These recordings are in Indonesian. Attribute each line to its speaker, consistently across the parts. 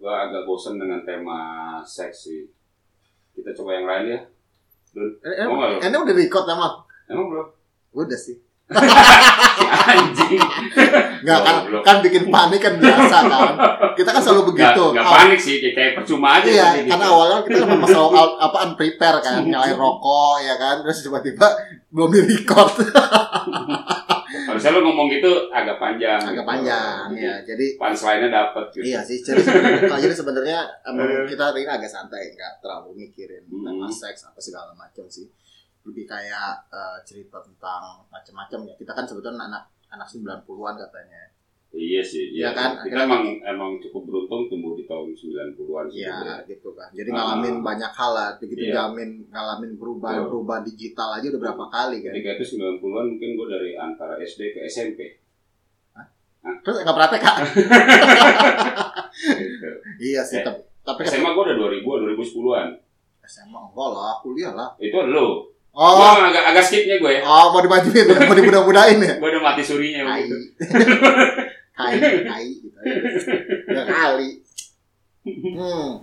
Speaker 1: gue agak bosen dengan tema seksi. Kita coba yang lain ya. Dun,
Speaker 2: Eh,
Speaker 1: mau nggak
Speaker 2: Emang,
Speaker 1: lu?
Speaker 2: emang udah record sama?
Speaker 1: Emang belum?
Speaker 2: Udah sih.
Speaker 1: Si anjing.
Speaker 2: Enggak kan,
Speaker 1: Goblok.
Speaker 2: kan bikin panik kan biasa kan. Kita kan selalu begitu.
Speaker 1: Gak,
Speaker 2: Awal-
Speaker 1: panik sih, kayak, kayak percuma aja.
Speaker 2: Iya,
Speaker 1: tadi gitu.
Speaker 2: karena awalnya kita kan memang selalu out- apa unprepare kan, nyalain rokok ya kan, terus tiba-tiba belum di record
Speaker 1: Harusnya lu ngomong gitu agak panjang.
Speaker 2: agak
Speaker 1: gitu.
Speaker 2: panjang ya. Jadi
Speaker 1: Punchline-nya dapet gitu.
Speaker 2: iya sih, jadi sebenarnya kalau jadi sebenarnya emang kita hari ini agak santai, nggak terlalu mikirin tentang
Speaker 1: Eh. Hmm.
Speaker 2: seks apa segala macam sih. Lebih kayak eh, cerita tentang macam-macam ya. Kita kan sebetulnya anak anak 90-an katanya.
Speaker 1: Iya sih, iya
Speaker 2: Iya kan?
Speaker 1: Kita emang emang cukup beruntung tumbuh di tahun 90-an sih.
Speaker 2: Iya gitu kan. Jadi
Speaker 1: Ah.
Speaker 2: ngalamin banyak hal lah. Begitu
Speaker 1: Iya.
Speaker 2: jamin ngalamin
Speaker 1: Betul.
Speaker 2: perubahan perubahan digital aja udah berapa kali kan.
Speaker 1: Ketika itu 90-an mungkin gue dari antara SD ke SMP.
Speaker 2: Terus nggak praktek Kak?
Speaker 1: Gitu.
Speaker 2: Iya
Speaker 1: Eh,
Speaker 2: sih. tapi tapi SMA,
Speaker 1: SMA gue udah 2000-an, 2010-an.
Speaker 2: SMA enggak lah, kuliah lah.
Speaker 1: Itu lo. Gue
Speaker 2: Oh,
Speaker 1: agak, agak skipnya gue.
Speaker 2: oh mau dimajuin ya, mau dimudah-mudahin ya.
Speaker 1: Gue udah mati surinya.
Speaker 2: Hai.
Speaker 1: begitu.
Speaker 2: Hai, hai gitu. aja. Udah kali. Hmm.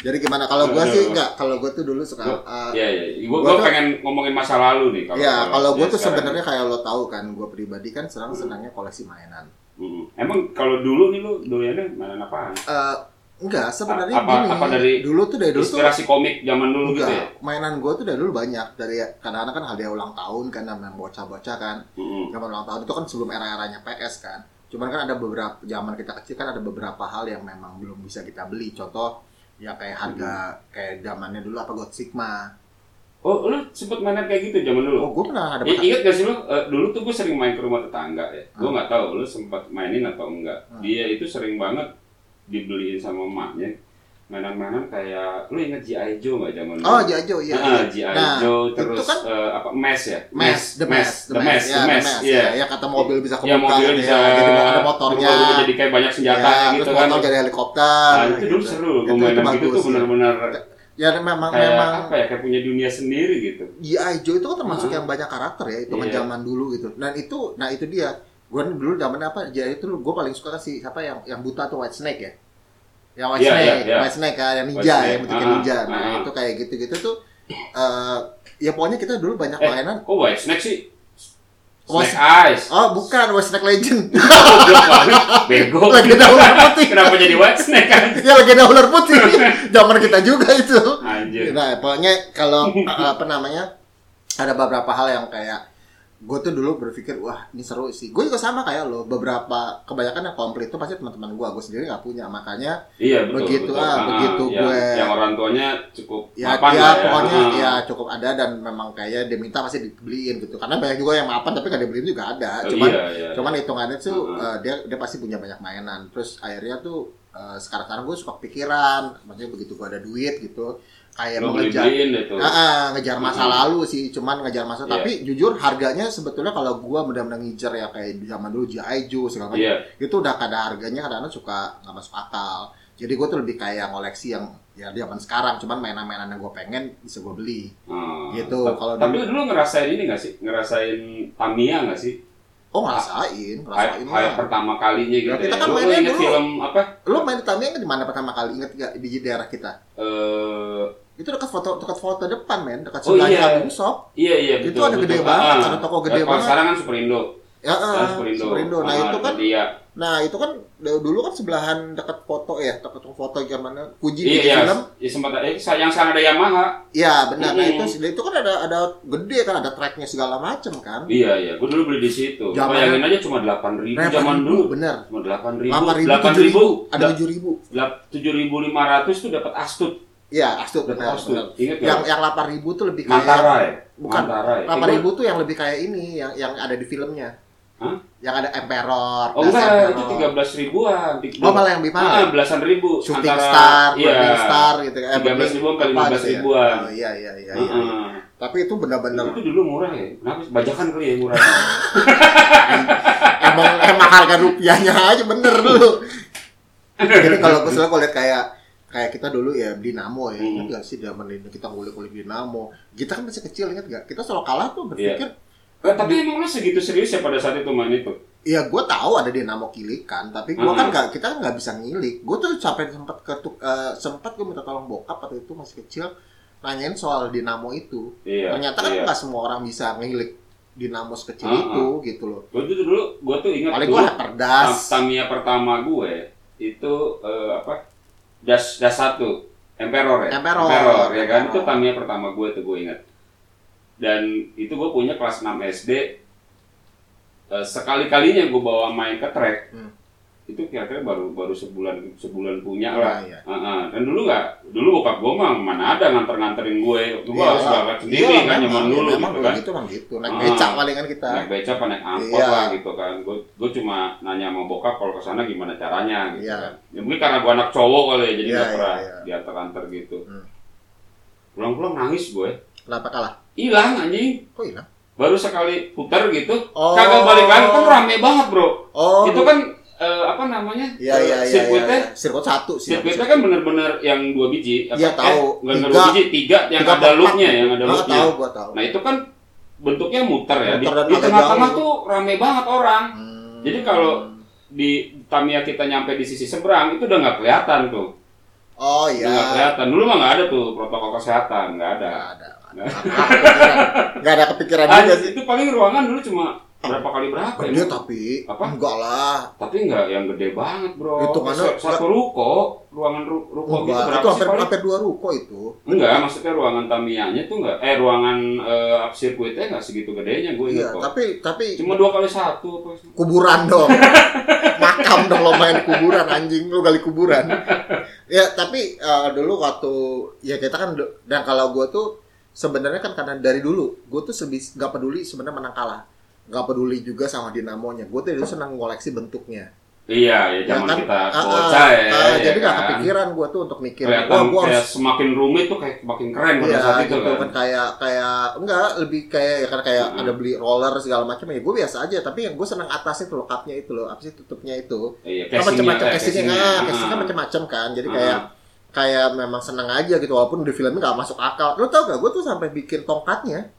Speaker 2: Jadi gimana kalau gua sih enggak, kalau gua tuh dulu suka eh,
Speaker 1: Iya, iya. Gue
Speaker 2: Gua tuh-
Speaker 1: pengen ngomongin masa lalu nih.
Speaker 2: Ya, kalau gue
Speaker 1: ya,
Speaker 2: tuh
Speaker 1: sekarang.
Speaker 2: sebenarnya kayak lo tahu kan, gue pribadi kan senang senangnya koleksi mainan.
Speaker 1: Mm. Emang kalau dulu nih lu doyannya mainan apaan?
Speaker 2: Eh, enggak, sebenarnya
Speaker 1: A- apa-
Speaker 2: gini.
Speaker 1: apa dari-
Speaker 2: dulu tuh dari Ya, dulu tuh
Speaker 1: Inspirasi komik zaman dulu gitu ya?
Speaker 2: enggak. Mainan gue tuh dari dulu banyak dari kadang-kadang kan hadiah ulang tahun kan namanya bocah-bocah kan.
Speaker 1: Mm.
Speaker 2: Zaman ulang tahun itu kan sebelum era-eranya PS kan. Cuman kan ada beberapa zaman kita kecil kan ada beberapa hal yang memang belum bisa kita beli. Contoh ya kayak harga kayak zamannya dulu apa God Sigma.
Speaker 1: Oh, lu sempet mainan kayak gitu zaman dulu?
Speaker 2: Oh, gue pernah Ah. ada
Speaker 1: I- ingat gak sih lu, eh, dulu tuh gue sering main ke rumah tetangga ya. Gue nggak tahu lu sempat mainin atau enggak.
Speaker 2: Hmm.
Speaker 1: Dia itu sering banget dibeliin sama emaknya mainan-mainan kayak lu inget G.I. Joe nggak zaman dulu?
Speaker 2: Oh, Jajo iya.
Speaker 1: Ah,
Speaker 2: iya.
Speaker 1: G.I.
Speaker 2: Nah,
Speaker 1: Joe
Speaker 2: itu
Speaker 1: terus
Speaker 2: kan-
Speaker 1: eh, apa mes ya?
Speaker 2: Mes, the mess,
Speaker 1: the mess,
Speaker 2: ya,
Speaker 1: the mess, iya.
Speaker 2: ya. ya kata mobil bisa kebuka,
Speaker 1: Ya mobil bisa
Speaker 2: ya, jadi ada motornya,
Speaker 1: berubah-ubah jadi kayak banyak senjata
Speaker 2: ya, terus
Speaker 1: gitu
Speaker 2: motor
Speaker 1: kan.
Speaker 2: jadi helikopter.
Speaker 1: Nah, itu dulu
Speaker 2: gitu.
Speaker 1: seru gue
Speaker 2: Itu- itu
Speaker 1: mainan gitu tuh
Speaker 2: bagus, ya.
Speaker 1: benar-benar
Speaker 2: Ya memang
Speaker 1: kayak
Speaker 2: memang
Speaker 1: apa ya kayak punya dunia sendiri gitu.
Speaker 2: GI Joe itu kan termasuk
Speaker 1: Hmm.
Speaker 2: yang banyak karakter ya, itu kan
Speaker 1: Iya.
Speaker 2: zaman dulu gitu. Dan itu, nah itu dia. Gue dulu zaman apa? GI itu gue paling suka kan si siapa yang yang buta tuh White Snake ya. Yang White
Speaker 1: Iya,
Speaker 2: Snake,
Speaker 1: iya, iya.
Speaker 2: White Snake kan, yang ninja
Speaker 1: White Snake,
Speaker 2: ya, bentuknya
Speaker 1: ah,
Speaker 2: ninja. Nah,
Speaker 1: ah.
Speaker 2: itu kayak gitu-gitu tuh eh ya pokoknya kita dulu banyak
Speaker 1: Eh.
Speaker 2: mainan.
Speaker 1: Kok white snack sih?
Speaker 2: White
Speaker 1: Snack eyes.
Speaker 2: Oh, bukan White Snake Legend.
Speaker 1: Goblok banget, bego.
Speaker 2: Legenda ular putih.
Speaker 1: Kenapa jadi white snake kan?
Speaker 2: ya legenda ular putih. Zaman kita juga itu.
Speaker 1: Anjir.
Speaker 2: Nah, pokoknya kalau eh, apa namanya ada beberapa hal yang kayak gue tuh dulu berpikir wah ini seru sih. Gue juga sama kayak lo. Beberapa kebanyakan yang komplit tuh pasti teman-teman gue. Gue sendiri nggak punya makanya
Speaker 1: Iya betul.
Speaker 2: Begitu,
Speaker 1: betul.
Speaker 2: ah, begitu
Speaker 1: yang,
Speaker 2: gue.
Speaker 1: Yang orang tuanya cukup
Speaker 2: ya
Speaker 1: mapan
Speaker 2: dia
Speaker 1: lah
Speaker 2: pokoknya
Speaker 1: Ah.
Speaker 2: ya cukup ada dan memang kayak diminta pasti dibeliin gitu. Karena banyak juga yang mapan tapi nggak dibeliin juga ada.
Speaker 1: Oh,
Speaker 2: Cuman
Speaker 1: iya, iya.
Speaker 2: cuman hitungannya tuh
Speaker 1: Mhm.
Speaker 2: eh, dia dia pasti punya banyak mainan terus akhirnya tuh eh, sekarang sekarang gue suka pikiran maksudnya begitu gue ada duit gitu kayak
Speaker 1: Lu
Speaker 2: mengejar
Speaker 1: beli-beliin deh tuh.
Speaker 2: Ah, ah, ngejar masa
Speaker 1: Mhm.
Speaker 2: lalu sih cuman ngejar masa
Speaker 1: Iya.
Speaker 2: tapi jujur harganya sebetulnya kalau gue benar-benar ngejar ya kayak di zaman dulu G.I. Joe segala macam
Speaker 1: Iya.
Speaker 2: itu udah kadang harganya kadang-kadang suka nggak masuk akal jadi gue tuh lebih kayak ngoleksi yang ya di zaman sekarang cuman mainan-mainan yang gue pengen bisa gue beli
Speaker 1: Ah.
Speaker 2: Gitu,
Speaker 1: Ta-
Speaker 2: kalau
Speaker 1: Tapi dulu ngerasain ini nggak sih? Ngerasain Tamiya nggak sih?
Speaker 2: oh
Speaker 1: Kayak
Speaker 2: ngerasain ngerasain
Speaker 1: kayak
Speaker 2: lah
Speaker 1: pertama kalinya gitu.
Speaker 2: kita
Speaker 1: ya.
Speaker 2: kan
Speaker 1: Lu- lu
Speaker 2: mainnya
Speaker 1: inget
Speaker 2: dulu.
Speaker 1: film apa?
Speaker 2: lo main di Tamiya nggak di mana pertama kali inget nggak di daerah kita
Speaker 1: Eh,
Speaker 2: itu dekat foto dekat foto depan men dekat
Speaker 1: Oh,
Speaker 2: sebelahnya
Speaker 1: iya.
Speaker 2: Abang Shop
Speaker 1: iya iya
Speaker 2: Itu
Speaker 1: betul.
Speaker 2: ada
Speaker 1: betul.
Speaker 2: gede banget,
Speaker 1: Ah.
Speaker 2: ada toko gede
Speaker 1: Eh, Kalau
Speaker 2: banget.
Speaker 1: sekarang kan Superindo.
Speaker 2: ya
Speaker 1: Sekarang
Speaker 2: eh,
Speaker 1: Superindo.
Speaker 2: Superindo. nah
Speaker 1: Ah,
Speaker 2: itu kan
Speaker 1: Iya.
Speaker 2: nah itu kan d- dulu kan sebelahan dekat foto ya dekat foto zamannya Fuji
Speaker 1: Iya,
Speaker 2: Fuji
Speaker 1: iya.
Speaker 2: film
Speaker 1: Ya, sempat eh, yang sana ada Yamaha.
Speaker 2: ya benar nah
Speaker 1: Mm.
Speaker 2: itu itu kan ada ada gede kan ada tracknya segala macam kan
Speaker 1: Iya, iya. Gue dulu beli di situ.
Speaker 2: Zaman-
Speaker 1: Bayangin aja cuma 8.000 Iya, zaman dulu.
Speaker 2: bener
Speaker 1: Cuma 8.000.
Speaker 2: lama ribu tujuh ribu
Speaker 1: 8.000.
Speaker 2: ada tujuh ribu
Speaker 1: Dap- 7.500 tuh dapat Astut.
Speaker 2: ya astut
Speaker 1: Dapat
Speaker 2: benar
Speaker 1: Astut.
Speaker 2: benar
Speaker 1: Ingat enggak?
Speaker 2: yang yang delapan ribu tuh lebih kayak
Speaker 1: Mantara ya?
Speaker 2: bukan
Speaker 1: Mantara ya?
Speaker 2: delapan
Speaker 1: Eh,
Speaker 2: ribu tuh yang lebih kayak ini yang yang ada di filmnya
Speaker 1: Hah?
Speaker 2: yang ada emperor
Speaker 1: Oh
Speaker 2: Das
Speaker 1: enggak, itu
Speaker 2: Emperor.
Speaker 1: 13 ribuan.
Speaker 2: Oh, malah yang lebih mahal ya?
Speaker 1: Ah, belasan ribu.
Speaker 2: shooting star,
Speaker 1: iya.
Speaker 2: burning star gitu kan.
Speaker 1: 13.000 sampai
Speaker 2: Apa gitu ya?
Speaker 1: 15.000-an.
Speaker 2: Oh, iya iya iya. iya.
Speaker 1: Heeh.
Speaker 2: Tapi itu benar-benar
Speaker 1: Itu dulu murah ya. Kenapa? sih? Bajakan kali ya murah.
Speaker 2: emang emang harga rupiahnya aja bener dulu. Jadi kalau gue selalu lihat kayak kayak kita dulu ya dinamo ya,
Speaker 1: Hmm.
Speaker 2: ingat nggak sih zaman itu kita ngulik-ngulik dinamo. Kita kan masih kecil ingat nggak? Kita selalu kalah tuh berpikir
Speaker 1: Eh, tapi emang lu segitu serius ya pada saat itu main itu?
Speaker 2: Iya, gue tahu ada dinamo kilikan, tapi gue
Speaker 1: Hmm.
Speaker 2: kan nggak kita kan nggak bisa ngilik. Gue tuh sampai sempat ketuk eh, sempat gue minta tolong bokap waktu itu masih kecil nanyain soal dinamo itu.
Speaker 1: Iya.
Speaker 2: Ternyata kan
Speaker 1: iya.
Speaker 2: nggak semua orang bisa ngilik dinamo sekecil
Speaker 1: Ah,
Speaker 2: itu gitu loh.
Speaker 1: Gue tuh dulu, gue tuh ingat
Speaker 2: Paling
Speaker 1: dulu
Speaker 2: gue perdas.
Speaker 1: tam- Tamiya pertama gue itu eh, apa? Das das satu, Emperor ya.
Speaker 2: Emperor.
Speaker 1: ya kan? Itu
Speaker 2: Emperor.
Speaker 1: Tamiya pertama gue tuh gue ingat. Dan itu gue punya kelas 6 SD. Eh, sekali-kalinya gue bawa main ke trek.
Speaker 2: Hmm.
Speaker 1: Itu kira-kira baru baru sebulan sebulan punya
Speaker 2: Iya,
Speaker 1: lah.
Speaker 2: iya.
Speaker 1: Heeh, Dan dulu nggak, dulu bokap gue mah mana ada nganter-nganterin gue, waktu gue
Speaker 2: Iya,
Speaker 1: harus berangkat sendiri
Speaker 2: iya,
Speaker 1: kan
Speaker 2: memang,
Speaker 1: nyaman
Speaker 2: iya,
Speaker 1: dulu
Speaker 2: memang
Speaker 1: gitu kan.
Speaker 2: gitu kan gitu. Naik
Speaker 1: Ah.
Speaker 2: becak paling kan kita.
Speaker 1: Naik beca apa naik angkot
Speaker 2: Iya.
Speaker 1: lah gitu kan. Gue gue cuma nanya sama bokap kalau ke sana gimana caranya gitu
Speaker 2: Iya.
Speaker 1: kan. Ya mungkin karena gue anak cowok kali ya jadi
Speaker 2: Iya,
Speaker 1: nggak
Speaker 2: iya,
Speaker 1: pernah
Speaker 2: iya.
Speaker 1: diantar-antar gitu.
Speaker 2: Hmm.
Speaker 1: Pulang-pulang nangis gue.
Speaker 2: Kenapa kalah?
Speaker 1: Hilang anjing.
Speaker 2: Kok hilang?
Speaker 1: Baru sekali putar gitu.
Speaker 2: Oh.
Speaker 1: Kagak balik lagi kan rame banget, Bro.
Speaker 2: Oh.
Speaker 1: Itu kan eh, apa namanya?
Speaker 2: Iya
Speaker 1: eh,
Speaker 2: iya iya.
Speaker 1: sirkuitnya
Speaker 2: iya. Sirkuit satu sih.
Speaker 1: Sirkuitnya kan Eh, bener-bener yang dua biji,
Speaker 2: Iya, tahu.
Speaker 1: nggak bener
Speaker 2: Tiga.
Speaker 1: dua biji, tiga yang
Speaker 2: Tiga
Speaker 1: ada
Speaker 2: per empat.
Speaker 1: loopnya, ya, yang ada
Speaker 2: Gua
Speaker 1: loopnya.
Speaker 2: tahu, gua tahu.
Speaker 1: Nah itu kan bentuknya muter ya. Di-
Speaker 2: Muter dan
Speaker 1: di
Speaker 2: agak
Speaker 1: tengah-tengah
Speaker 2: jauh.
Speaker 1: tuh rame banget orang.
Speaker 2: Hmm.
Speaker 1: Jadi kalau- Di Tamiya kita nyampe di sisi seberang itu udah nggak kelihatan tuh.
Speaker 2: Oh
Speaker 1: Udah nggak
Speaker 2: iya.
Speaker 1: kelihatan. Dulu mah nggak ada tuh protokol kesehatan, nggak ada.
Speaker 2: Nggak ada. Enggak ada kepikiran juga
Speaker 1: Ah,
Speaker 2: Ya, sih.
Speaker 1: itu paling ruangan dulu cuma berapa kali berapa
Speaker 2: Gede
Speaker 1: ya?
Speaker 2: tapi
Speaker 1: Apa?
Speaker 2: enggak lah.
Speaker 1: Tapi nggak yang gede banget bro.
Speaker 2: Itu karena-
Speaker 1: Sa- satu ruko, ruangan ru- ruko gitu
Speaker 2: Enggak,
Speaker 1: berapa
Speaker 2: itu
Speaker 1: sih
Speaker 2: hampir
Speaker 1: paling?
Speaker 2: hampir dua ruko itu.
Speaker 1: Enggak, maksudnya ruangan Tamiyanya tuh nggak, eh ruangan eh, sirkuitnya nggak segitu gedenya gue ingat
Speaker 2: Iya,
Speaker 1: Oh, kok.
Speaker 2: tapi tapi
Speaker 1: Cuma dua kali satu apa sih?
Speaker 2: kuburan dong. Makam dong lo main kuburan anjing lu gali kuburan. ya, tapi eh, dulu waktu ya kita kan du- dan kalau gua tuh sebenarnya kan karena dari dulu gua tuh sebis nggak peduli sebenarnya menang kalah. Nggak peduli juga sama dinamonya. Gua tuh dulu senang ngoleksi bentuknya.
Speaker 1: Iya, ya zaman
Speaker 2: kan?
Speaker 1: kita
Speaker 2: Ah,
Speaker 1: bocah
Speaker 2: ah,
Speaker 1: ya.
Speaker 2: ah,
Speaker 1: ya
Speaker 2: jadi nggak
Speaker 1: kan?
Speaker 2: kepikiran gue tuh untuk mikir
Speaker 1: Kelihatan
Speaker 2: wah gue
Speaker 1: kayak
Speaker 2: harus
Speaker 1: semakin rumit tuh kayak makin keren pada
Speaker 2: Iya
Speaker 1: saat itu
Speaker 2: gitu
Speaker 1: kan.
Speaker 2: kan kayak kayak enggak lebih kayak ya kan kayak
Speaker 1: Mm-mm.
Speaker 2: ada beli roller segala macam ya gue biasa aja tapi yang gue senang atasnya tuh loh, cupnya itu loh apa sih tutupnya itu
Speaker 1: Iya,
Speaker 2: kan macam-macam
Speaker 1: kayak
Speaker 2: casingnya ah casingnya
Speaker 1: Ah.
Speaker 2: macam-macam kan jadi
Speaker 1: Ah.
Speaker 2: kayak kayak memang senang aja gitu walaupun di filmnya nggak masuk akal lo tau gak gue tuh sampai bikin tongkatnya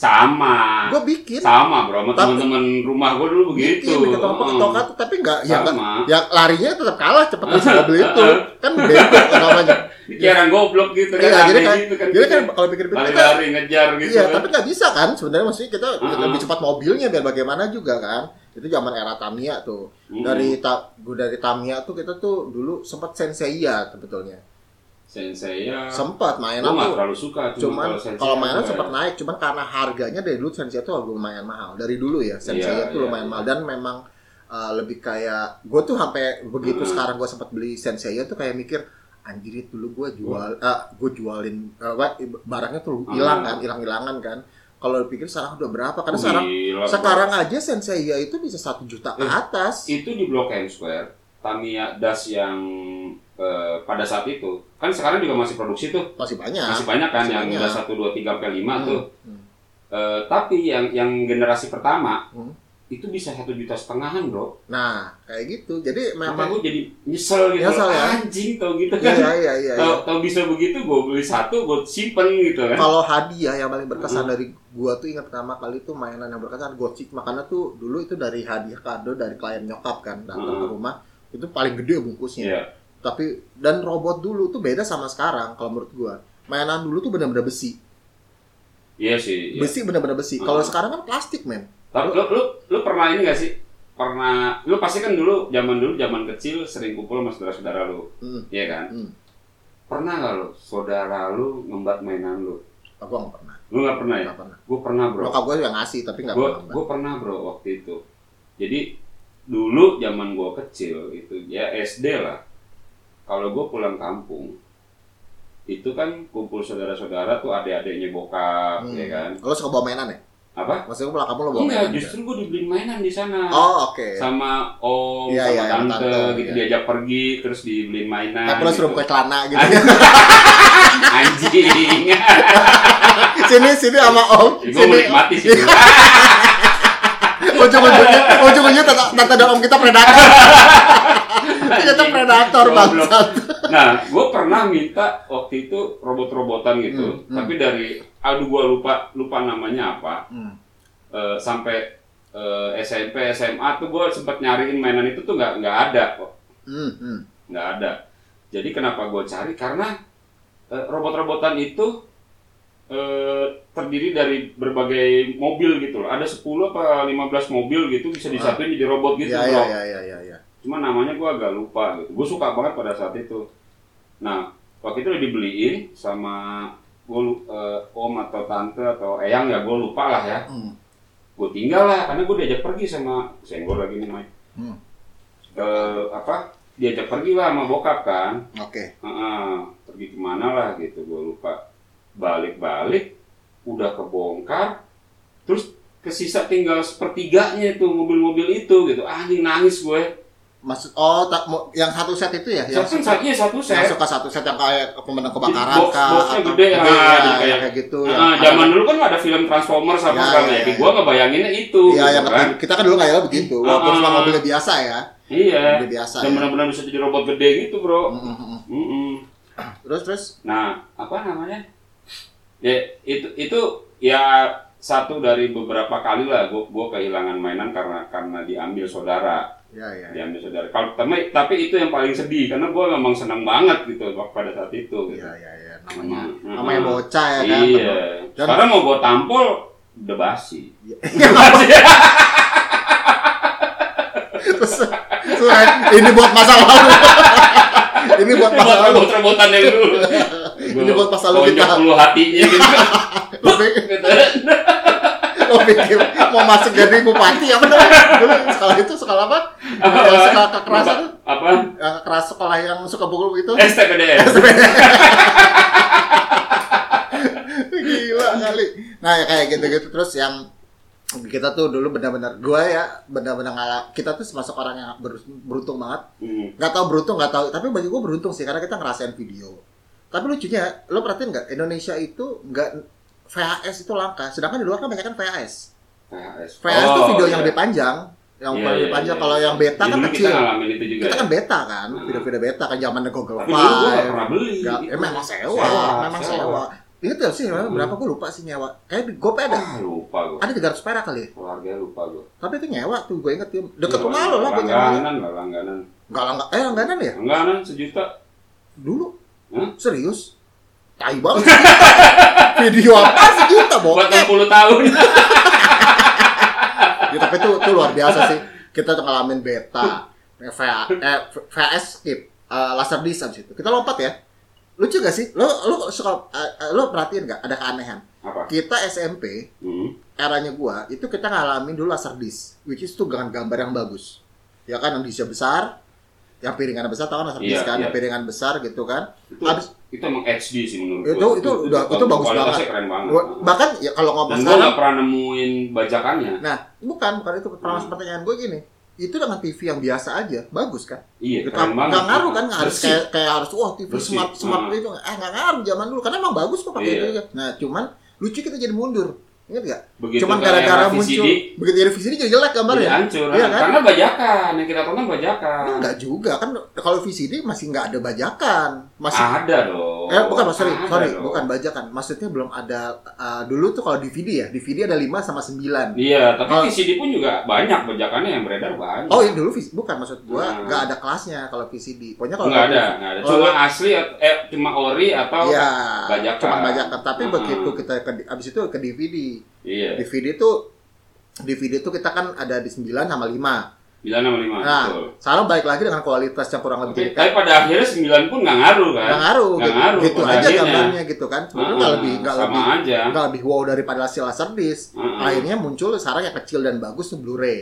Speaker 1: sama.
Speaker 2: gue bikin
Speaker 1: Ah. Sama, Bro. Sama
Speaker 2: Tapi-
Speaker 1: teman-teman rumah gua dulu begitu.
Speaker 2: bikin bikin tongkat
Speaker 1: Heeh.
Speaker 2: tongkat tapi nggak ya kan
Speaker 1: Hmm. sama. Ah.
Speaker 2: ya larinya tetap kalah cepet sama mobil itu kan bego namanya
Speaker 1: Pikiran goblok gitu kan.
Speaker 2: Iya, jadi
Speaker 1: aneh
Speaker 2: kan-
Speaker 1: gitu kan.
Speaker 2: Jadi kan kalau pikir-pikir kita
Speaker 1: lari-lari ngejar gitu
Speaker 2: iya,
Speaker 1: kan.
Speaker 2: tapi nggak bisa kan sebenarnya maksudnya kita
Speaker 1: Ah.
Speaker 2: lebih cepat mobilnya biar bagaimana juga kan. Itu zaman era Tamiya tuh.
Speaker 1: Mm-mm.
Speaker 2: Dari ta, gua dari Tamiya tuh kita tuh dulu sempat Senseiya sebetulnya.
Speaker 1: Sensei ya.
Speaker 2: Sempat
Speaker 1: Gua
Speaker 2: mainan
Speaker 1: nggak
Speaker 2: tuh.
Speaker 1: terlalu suka
Speaker 2: Cuman
Speaker 1: Sensei ya.
Speaker 2: kalau mainan
Speaker 1: gua-
Speaker 2: sempat naik, cuman karena harganya dari dulu Senseiya tuh lumayan mahal. Dari dulu ya Senseiya
Speaker 1: Iya,
Speaker 2: tuh
Speaker 1: iya,
Speaker 2: lumayan
Speaker 1: iya.
Speaker 2: mahal dan memang uh, lebih kayak gue tuh sampai begitu
Speaker 1: Mm-mm.
Speaker 2: sekarang gue sempat beli Senseiya tuh kayak mikir anjir dulu gue
Speaker 1: Mm.
Speaker 2: jual eh, gue jualin eh, apa, barangnya tuh hilang
Speaker 1: Ah.
Speaker 2: kan hilang hilangan kan kalau dipikir sekarang udah berapa karena
Speaker 1: Gila,
Speaker 2: kan sekarang
Speaker 1: Bro.
Speaker 2: sekarang aja Senseiya itu bisa satu juta
Speaker 1: Eh,
Speaker 2: ke atas
Speaker 1: itu di Blok M Square Tamiya Das yang eh, pada saat itu kan sekarang juga masih produksi tuh
Speaker 2: masih banyak
Speaker 1: masih banyak kan
Speaker 2: Iya. masih
Speaker 1: yang
Speaker 2: banyak.
Speaker 1: udah satu dua tiga sampai lima
Speaker 2: Hmm,
Speaker 1: tuh
Speaker 2: hmm.
Speaker 1: Eh, tapi yang yang generasi pertama
Speaker 2: Hmm.
Speaker 1: itu bisa satu juta setengahan bro
Speaker 2: nah kayak gitu jadi
Speaker 1: Maka
Speaker 2: memang
Speaker 1: gue jadi nyesel gitu
Speaker 2: Nyesel ya?
Speaker 1: anjing tau gitu
Speaker 2: iya
Speaker 1: kan
Speaker 2: iya iya, iya.
Speaker 1: tau, tau bisa begitu gue beli satu gue simpen gitu kan
Speaker 2: kalau hadiah yang paling berkesan dari gua tuh ingat pertama kali tuh mainan yang berkesan gocik makanya tuh dulu itu dari hadiah kado dari klien nyokap kan datang ke
Speaker 1: Hmm.
Speaker 2: rumah itu paling gede bungkusnya
Speaker 1: Iya.
Speaker 2: tapi dan robot dulu tuh beda sama sekarang kalau menurut gua mainan dulu tuh benar-benar besi
Speaker 1: iya sih iya.
Speaker 2: besi benar-benar besi
Speaker 1: Hmm.
Speaker 2: kalau sekarang kan plastik men
Speaker 1: Tapi lu, lu, lu pernah ini gak sih? Pernah, lu pasti kan dulu, zaman dulu, zaman kecil sering kumpul sama saudara-saudara lu,
Speaker 2: hmm.
Speaker 1: iya kan?
Speaker 2: Hmm.
Speaker 1: Pernah gak lu, saudara lu ngembat mainan lu?
Speaker 2: aku nggak pernah
Speaker 1: Lu gak pernah ya?
Speaker 2: nggak pernah
Speaker 1: Gue pernah bro.
Speaker 2: nyokap gua yang ngasih tapi nggak
Speaker 1: Gue
Speaker 2: pernah
Speaker 1: gue pernah bro waktu itu. Jadi dulu zaman gue kecil itu ya SD lah. Kalau gue pulang kampung itu kan kumpul saudara-saudara tuh adik-adiknya bokap,
Speaker 2: Hmm.
Speaker 1: ya kan?
Speaker 2: Lo suka bawa mainan ya?
Speaker 1: Apa?
Speaker 2: Maksudnya gue pulang kamu lo bawa mainan?
Speaker 1: Enggak,
Speaker 2: juga?
Speaker 1: justru gue dibeliin mainan di sana.
Speaker 2: Oh, oke.
Speaker 1: sama om
Speaker 2: Iya,
Speaker 1: sama
Speaker 2: iya, sama
Speaker 1: tante,
Speaker 2: tante,
Speaker 1: gitu
Speaker 2: iya. Nah,
Speaker 1: diajak pergi terus dibeliin mainan
Speaker 2: Tapi lo suruh
Speaker 1: gitu.
Speaker 2: buka celana gitu.
Speaker 1: Anjing. anjing
Speaker 2: sini, sini sama om.
Speaker 1: gue
Speaker 2: Sini.
Speaker 1: menikmati sih bro.
Speaker 2: Ujung-ujungnya, ujung-ujungnya tante, tante dan om kita predator. kita
Speaker 1: Anjing.
Speaker 2: predator
Speaker 1: Goblok.
Speaker 2: bangsat.
Speaker 1: nah gue pernah minta waktu itu robot-robotan gitu
Speaker 2: Hmm, hmm.
Speaker 1: tapi dari aduh gue lupa lupa namanya apa
Speaker 2: Hmm.
Speaker 1: eh, sampai eh, SMP SMA tuh gue sempet nyariin mainan itu tuh nggak nggak ada kok
Speaker 2: Hmm, hmm.
Speaker 1: nggak ada jadi kenapa gue cari karena eh, robot-robotan itu eh, terdiri dari berbagai mobil gitu loh ada 10 apa 15 mobil gitu bisa disatuin jadi robot gitu
Speaker 2: Ya, ya,
Speaker 1: loh
Speaker 2: ya, ya, ya, ya.
Speaker 1: cuma namanya gue agak lupa gitu gue suka banget pada saat itu nah waktu itu udah dibeliin sama gue om atau tante atau eyang ya gue lupa lah ya
Speaker 2: Hmm.
Speaker 1: gue tinggal lah karena gue diajak pergi sama senggol lagi nih Mike
Speaker 2: Hmm.
Speaker 1: Eh, apa diajak pergi lah sama bokap kan
Speaker 2: Oke.
Speaker 1: Heeh, pergi kemana lah gitu gue lupa balik-balik udah kebongkar terus kesisa tinggal sepertiganya itu mobil-mobil itu gitu anjing nangis gue
Speaker 2: Maksud oh tak mau- yang satu set itu ya, yang
Speaker 1: satu satunya satu
Speaker 2: yang
Speaker 1: set
Speaker 2: suka satu set yang kayak pemenang kebakaran
Speaker 1: Jadi box-
Speaker 2: kah,
Speaker 1: boxnya
Speaker 2: atau-
Speaker 1: gede, ah,
Speaker 2: ya,
Speaker 1: gitu
Speaker 2: yang
Speaker 1: kayak-
Speaker 2: kayak gitu. yang
Speaker 1: Heeh,
Speaker 2: ada-
Speaker 1: zaman dulu kan ada film Transformers apa
Speaker 2: Ya,
Speaker 1: kan
Speaker 2: ya,
Speaker 1: ya,
Speaker 2: ya.
Speaker 1: gue ngebayanginnya itu
Speaker 2: Iya,
Speaker 1: gitu
Speaker 2: yang
Speaker 1: kan
Speaker 2: kita kan dulu kayaknya begitu. Walaupun
Speaker 1: Ah.
Speaker 2: cuma mobilnya biasa ya,
Speaker 1: iya
Speaker 2: mobil biasa.
Speaker 1: dan
Speaker 2: ya.
Speaker 1: benar-benar bisa jadi robot gede gitu bro
Speaker 2: Mm, mm, mm.
Speaker 1: Mm-mm.
Speaker 2: Terus terus
Speaker 1: Nah, apa namanya? Ya, itu itu ya satu dari beberapa kali lah gue kehilangan mainan karena karena diambil saudara,
Speaker 2: ya ya.
Speaker 1: diambil saudara. Kalau tapi, tapi itu yang paling sedih karena gue memang senang banget gitu wak- pada saat itu. Gitu.
Speaker 2: Iya, iya, iya. Namanya
Speaker 1: Mm,
Speaker 2: namanya
Speaker 1: mm.
Speaker 2: bocah ya kan.
Speaker 1: iya.
Speaker 2: Dan-
Speaker 1: Sekarang mau gue tampol udah basi.
Speaker 2: Iya. Terus, terus, ini buat masa lalu. ini buat masa
Speaker 1: Buat
Speaker 2: lalu.
Speaker 1: rebut-rebutan yang dulu.
Speaker 2: Ini buat masa lalu
Speaker 1: Konyol
Speaker 2: kita.
Speaker 1: dulu hatinya gitu.
Speaker 2: Lo pikir-
Speaker 1: Gitu.
Speaker 2: lo pikir mau masuk jadi bupati ya benar? Dulu sekolah itu sekolah apa? Yang sekolah kekerasan,
Speaker 1: apa?
Speaker 2: yang keras sekolah yang suka pukul itu.
Speaker 1: STPDS.
Speaker 2: Gila kali. Nah, ya kayak gitu-gitu terus yang kita tuh dulu benar-benar gua ya benar-benar ngalah. Kita tuh termasuk orang yang ber- beruntung banget
Speaker 1: Hmm.
Speaker 2: nggak tahu beruntung nggak tahu tapi bagi gue beruntung sih karena kita ngerasain video tapi lucunya lo perhatiin nggak Indonesia itu nggak VHS itu langka sedangkan di luar kan banyak kan VHS Nah,
Speaker 1: VHS.
Speaker 2: VHS itu
Speaker 1: Oh,
Speaker 2: video
Speaker 1: iya.
Speaker 2: yang lebih panjang Oh, yang
Speaker 1: Iya,
Speaker 2: lebih
Speaker 1: iya,
Speaker 2: panjang
Speaker 1: iya.
Speaker 2: kalau yang beta
Speaker 1: Ya,
Speaker 2: kan
Speaker 1: dulu
Speaker 2: kecil
Speaker 1: Kita ngalamin itu juga.
Speaker 2: kita
Speaker 1: ya.
Speaker 2: kan beta kan
Speaker 1: Nah.
Speaker 2: video-video beta kan zaman Google
Speaker 1: Tapi dulu gua nggak
Speaker 2: Five
Speaker 1: pernah beli.
Speaker 2: Nggak,
Speaker 1: itu.
Speaker 2: eh, memang sewa,
Speaker 1: Sewa,
Speaker 2: memang
Speaker 1: sewa.
Speaker 2: sewa. Ingat ya sih,
Speaker 1: Hmm.
Speaker 2: berapa gue lupa sih nyewa. Kayak gue ada,
Speaker 1: Ah, lupa gua.
Speaker 2: ada 300 perak kali. ya.
Speaker 1: Keluarga lupa gua.
Speaker 2: Tapi itu nyewa tuh gue inget tuh. Deket
Speaker 1: Iya,
Speaker 2: rumah lo lah gue nyewa.
Speaker 1: Langganan lah, langganan.
Speaker 2: Enggak lah, enggak. Eh, langganan ya?
Speaker 1: Langganan sejuta.
Speaker 2: Dulu?
Speaker 1: Hah?
Speaker 2: Serius? Tai banget sejuta. Video apa sejuta
Speaker 1: Buat
Speaker 2: bokep?
Speaker 1: 60 tahun.
Speaker 2: Ya, tapi itu, itu luar biasa sih. Kita tuh ngalamin beta, VA, eh, VS skip, eh, laser disc abis itu. Kita lompat ya. Lucu gak sih? Lo, lo suka, eh, eh, lo perhatiin gak ada keanehan?
Speaker 1: Apa?
Speaker 2: Kita SMP,
Speaker 1: Hmm.
Speaker 2: eranya gua, itu kita ngalamin dulu laser disc. Which is tuh dengan gambar yang bagus. Ya kan, yang disc besar, yang piringan besar, tau kan laser disc
Speaker 1: Iya,
Speaker 2: kan?
Speaker 1: iya.
Speaker 2: Yang piringan besar gitu kan.
Speaker 1: Itu,
Speaker 2: Abis,
Speaker 1: itu emang HD sih menurut
Speaker 2: Itu-
Speaker 1: gua.
Speaker 2: itu udah- itu bagus
Speaker 1: Kualitasnya
Speaker 2: banget.
Speaker 1: keren banget. Nah,
Speaker 2: gua- bahkan ya kalau
Speaker 1: Dan
Speaker 2: ngomong
Speaker 1: gua
Speaker 2: sekarang,
Speaker 1: nggak pernah nemuin bajakannya.
Speaker 2: Nah, bukan, bukan itu pertanyaan
Speaker 1: Hmm.
Speaker 2: pertanyaan gue gini. Itu dengan TV yang biasa aja, bagus kan?
Speaker 1: Iya,
Speaker 2: Gak,
Speaker 1: keren banget.
Speaker 2: gak ngaruh kan, nggak harus
Speaker 1: Bersih.
Speaker 2: kayak, kayak harus wah TV
Speaker 1: Bersih.
Speaker 2: smart smart
Speaker 1: Hmm.
Speaker 2: itu, eh nggak ngaruh zaman dulu karena emang bagus kok pakai
Speaker 1: Iya.
Speaker 2: itu aja. Nah, cuman lucu kita jadi mundur, ingat gak?
Speaker 1: Begitu
Speaker 2: cuman
Speaker 1: ke
Speaker 2: gara-gara
Speaker 1: era
Speaker 2: muncul
Speaker 1: VCD,
Speaker 2: begitu dari VCD jadi jelek
Speaker 1: jadi
Speaker 2: gambarnya.
Speaker 1: hancur.
Speaker 2: Iya kan?
Speaker 1: Karena bajakan yang kita tonton bajakan.
Speaker 2: Enggak juga kan kalau VCD masih nggak ada bajakan, masih
Speaker 1: Ada dong.
Speaker 2: Eh bukan Mas, sorry,
Speaker 1: Ada Ah.
Speaker 2: sorry,
Speaker 1: iya dong.
Speaker 2: bukan bajakan. Maksudnya belum ada eh, dulu tuh kalau DVD ya, DVD ada 5 sama 9.
Speaker 1: Iya, tapi
Speaker 2: Kalau-
Speaker 1: VCD pun juga banyak bajakannya yang beredar banyak.
Speaker 2: Oh, iya dulu vis- bukan maksud gua
Speaker 1: Hmm.
Speaker 2: nggak ada kelasnya kalau VCD. Pokoknya kalau
Speaker 1: Enggak ada, enggak ada.
Speaker 2: kalau-
Speaker 1: Cuma asli at- eh cuma ori atau
Speaker 2: Oh. Iya,
Speaker 1: Oh, bajakan.
Speaker 2: cuman bajakan. Tapi
Speaker 1: Hmm.
Speaker 2: begitu kita ke, abis itu ke DVD.
Speaker 1: iya.
Speaker 2: DVD tuh DVD tuh kita kan ada di 9 sama
Speaker 1: 9
Speaker 2: 5.
Speaker 1: sama 5.
Speaker 2: Nah,
Speaker 1: betul.
Speaker 2: sekarang balik lagi dengan kualitas yang kurang
Speaker 1: Tapi,
Speaker 2: lebih
Speaker 1: tapi
Speaker 2: dekat.
Speaker 1: pada akhirnya 9 pun enggak ngaruh kan?
Speaker 2: Nggak ngaruh,
Speaker 1: nggak
Speaker 2: gitu,
Speaker 1: ngaruh
Speaker 2: gitu
Speaker 1: pada
Speaker 2: aja
Speaker 1: akhirnya.
Speaker 2: gambarnya gitu kan. Sebenarnya nggak
Speaker 1: Ah,
Speaker 2: lebih nggak
Speaker 1: sama
Speaker 2: lebih
Speaker 1: aja.
Speaker 2: nggak lebih wow daripada hasil laserdisc.
Speaker 1: Hmm.
Speaker 2: Akhirnya muncul sekarang yang kecil dan bagus tuh Blu-ray.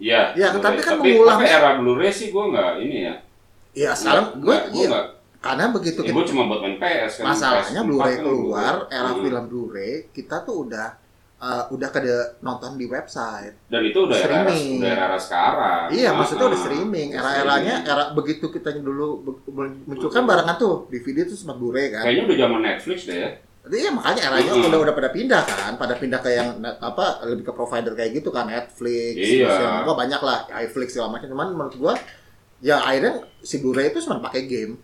Speaker 1: Iya.
Speaker 2: Iya,
Speaker 1: Blu-ray.
Speaker 2: tapi kan
Speaker 1: tapi,
Speaker 2: mengulang-
Speaker 1: tapi era Blu-ray sih gua enggak ini ya.
Speaker 2: Iya, sekarang gue
Speaker 1: Nggak,
Speaker 2: iya,
Speaker 1: nggak.
Speaker 2: karena begitu
Speaker 1: Ya,
Speaker 2: kita
Speaker 1: gua cuma buat main PS kan.
Speaker 2: masalahnya
Speaker 1: PS4
Speaker 2: Blu-ray
Speaker 1: kan
Speaker 2: keluar, era
Speaker 1: Hmm.
Speaker 2: film Blu-ray kita tuh udah eh, udah kada nonton di website.
Speaker 1: Dan itu udah era,
Speaker 2: streaming.
Speaker 1: udah era sekarang. Ah,
Speaker 2: Iya, maksudnya udah
Speaker 1: ah.
Speaker 2: streaming.
Speaker 1: Udah
Speaker 2: Era-eranya
Speaker 1: streaming.
Speaker 2: era begitu kita dulu be- be- muncul kan barengan tuh DVD tuh sempat bure kan.
Speaker 1: Kayaknya udah zaman Netflix deh ya.
Speaker 2: Jadi ya makanya eranya
Speaker 1: Mm-mm.
Speaker 2: udah udah pada pindah kan, pada pindah ke yang net- apa lebih ke provider kayak gitu kan Netflix,
Speaker 1: Iya.
Speaker 2: terus yang gua banyak lah, iFlix segala macam. Cuman menurut gua ya akhirnya si Blu-ray itu cuma pakai game.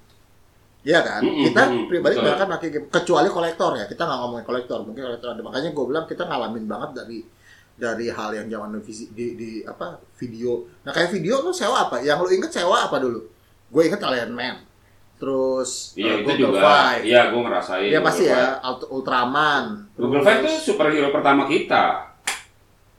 Speaker 2: Iya kan?
Speaker 1: Mm-mm,
Speaker 2: kita
Speaker 1: mm-mm,
Speaker 2: pribadi
Speaker 1: betul.
Speaker 2: nggak akan pakai game kecuali kolektor ya. Kita nggak ngomongin kolektor, mungkin kolektor ada. Makanya gua bilang kita ngalamin banget dari dari hal yang zaman di, visi- di, di apa video. Nah kayak video lu sewa apa? Yang lu inget sewa apa dulu? Gue inget Alien Man. Terus
Speaker 1: Iya
Speaker 2: eh,
Speaker 1: itu
Speaker 2: Google
Speaker 1: juga.
Speaker 2: Five.
Speaker 1: Iya gue ngerasain.
Speaker 2: Iya pasti
Speaker 1: Google Five.
Speaker 2: ya Ult- Ultraman.
Speaker 1: Google Five
Speaker 2: Terus
Speaker 1: tuh superhero pertama kita.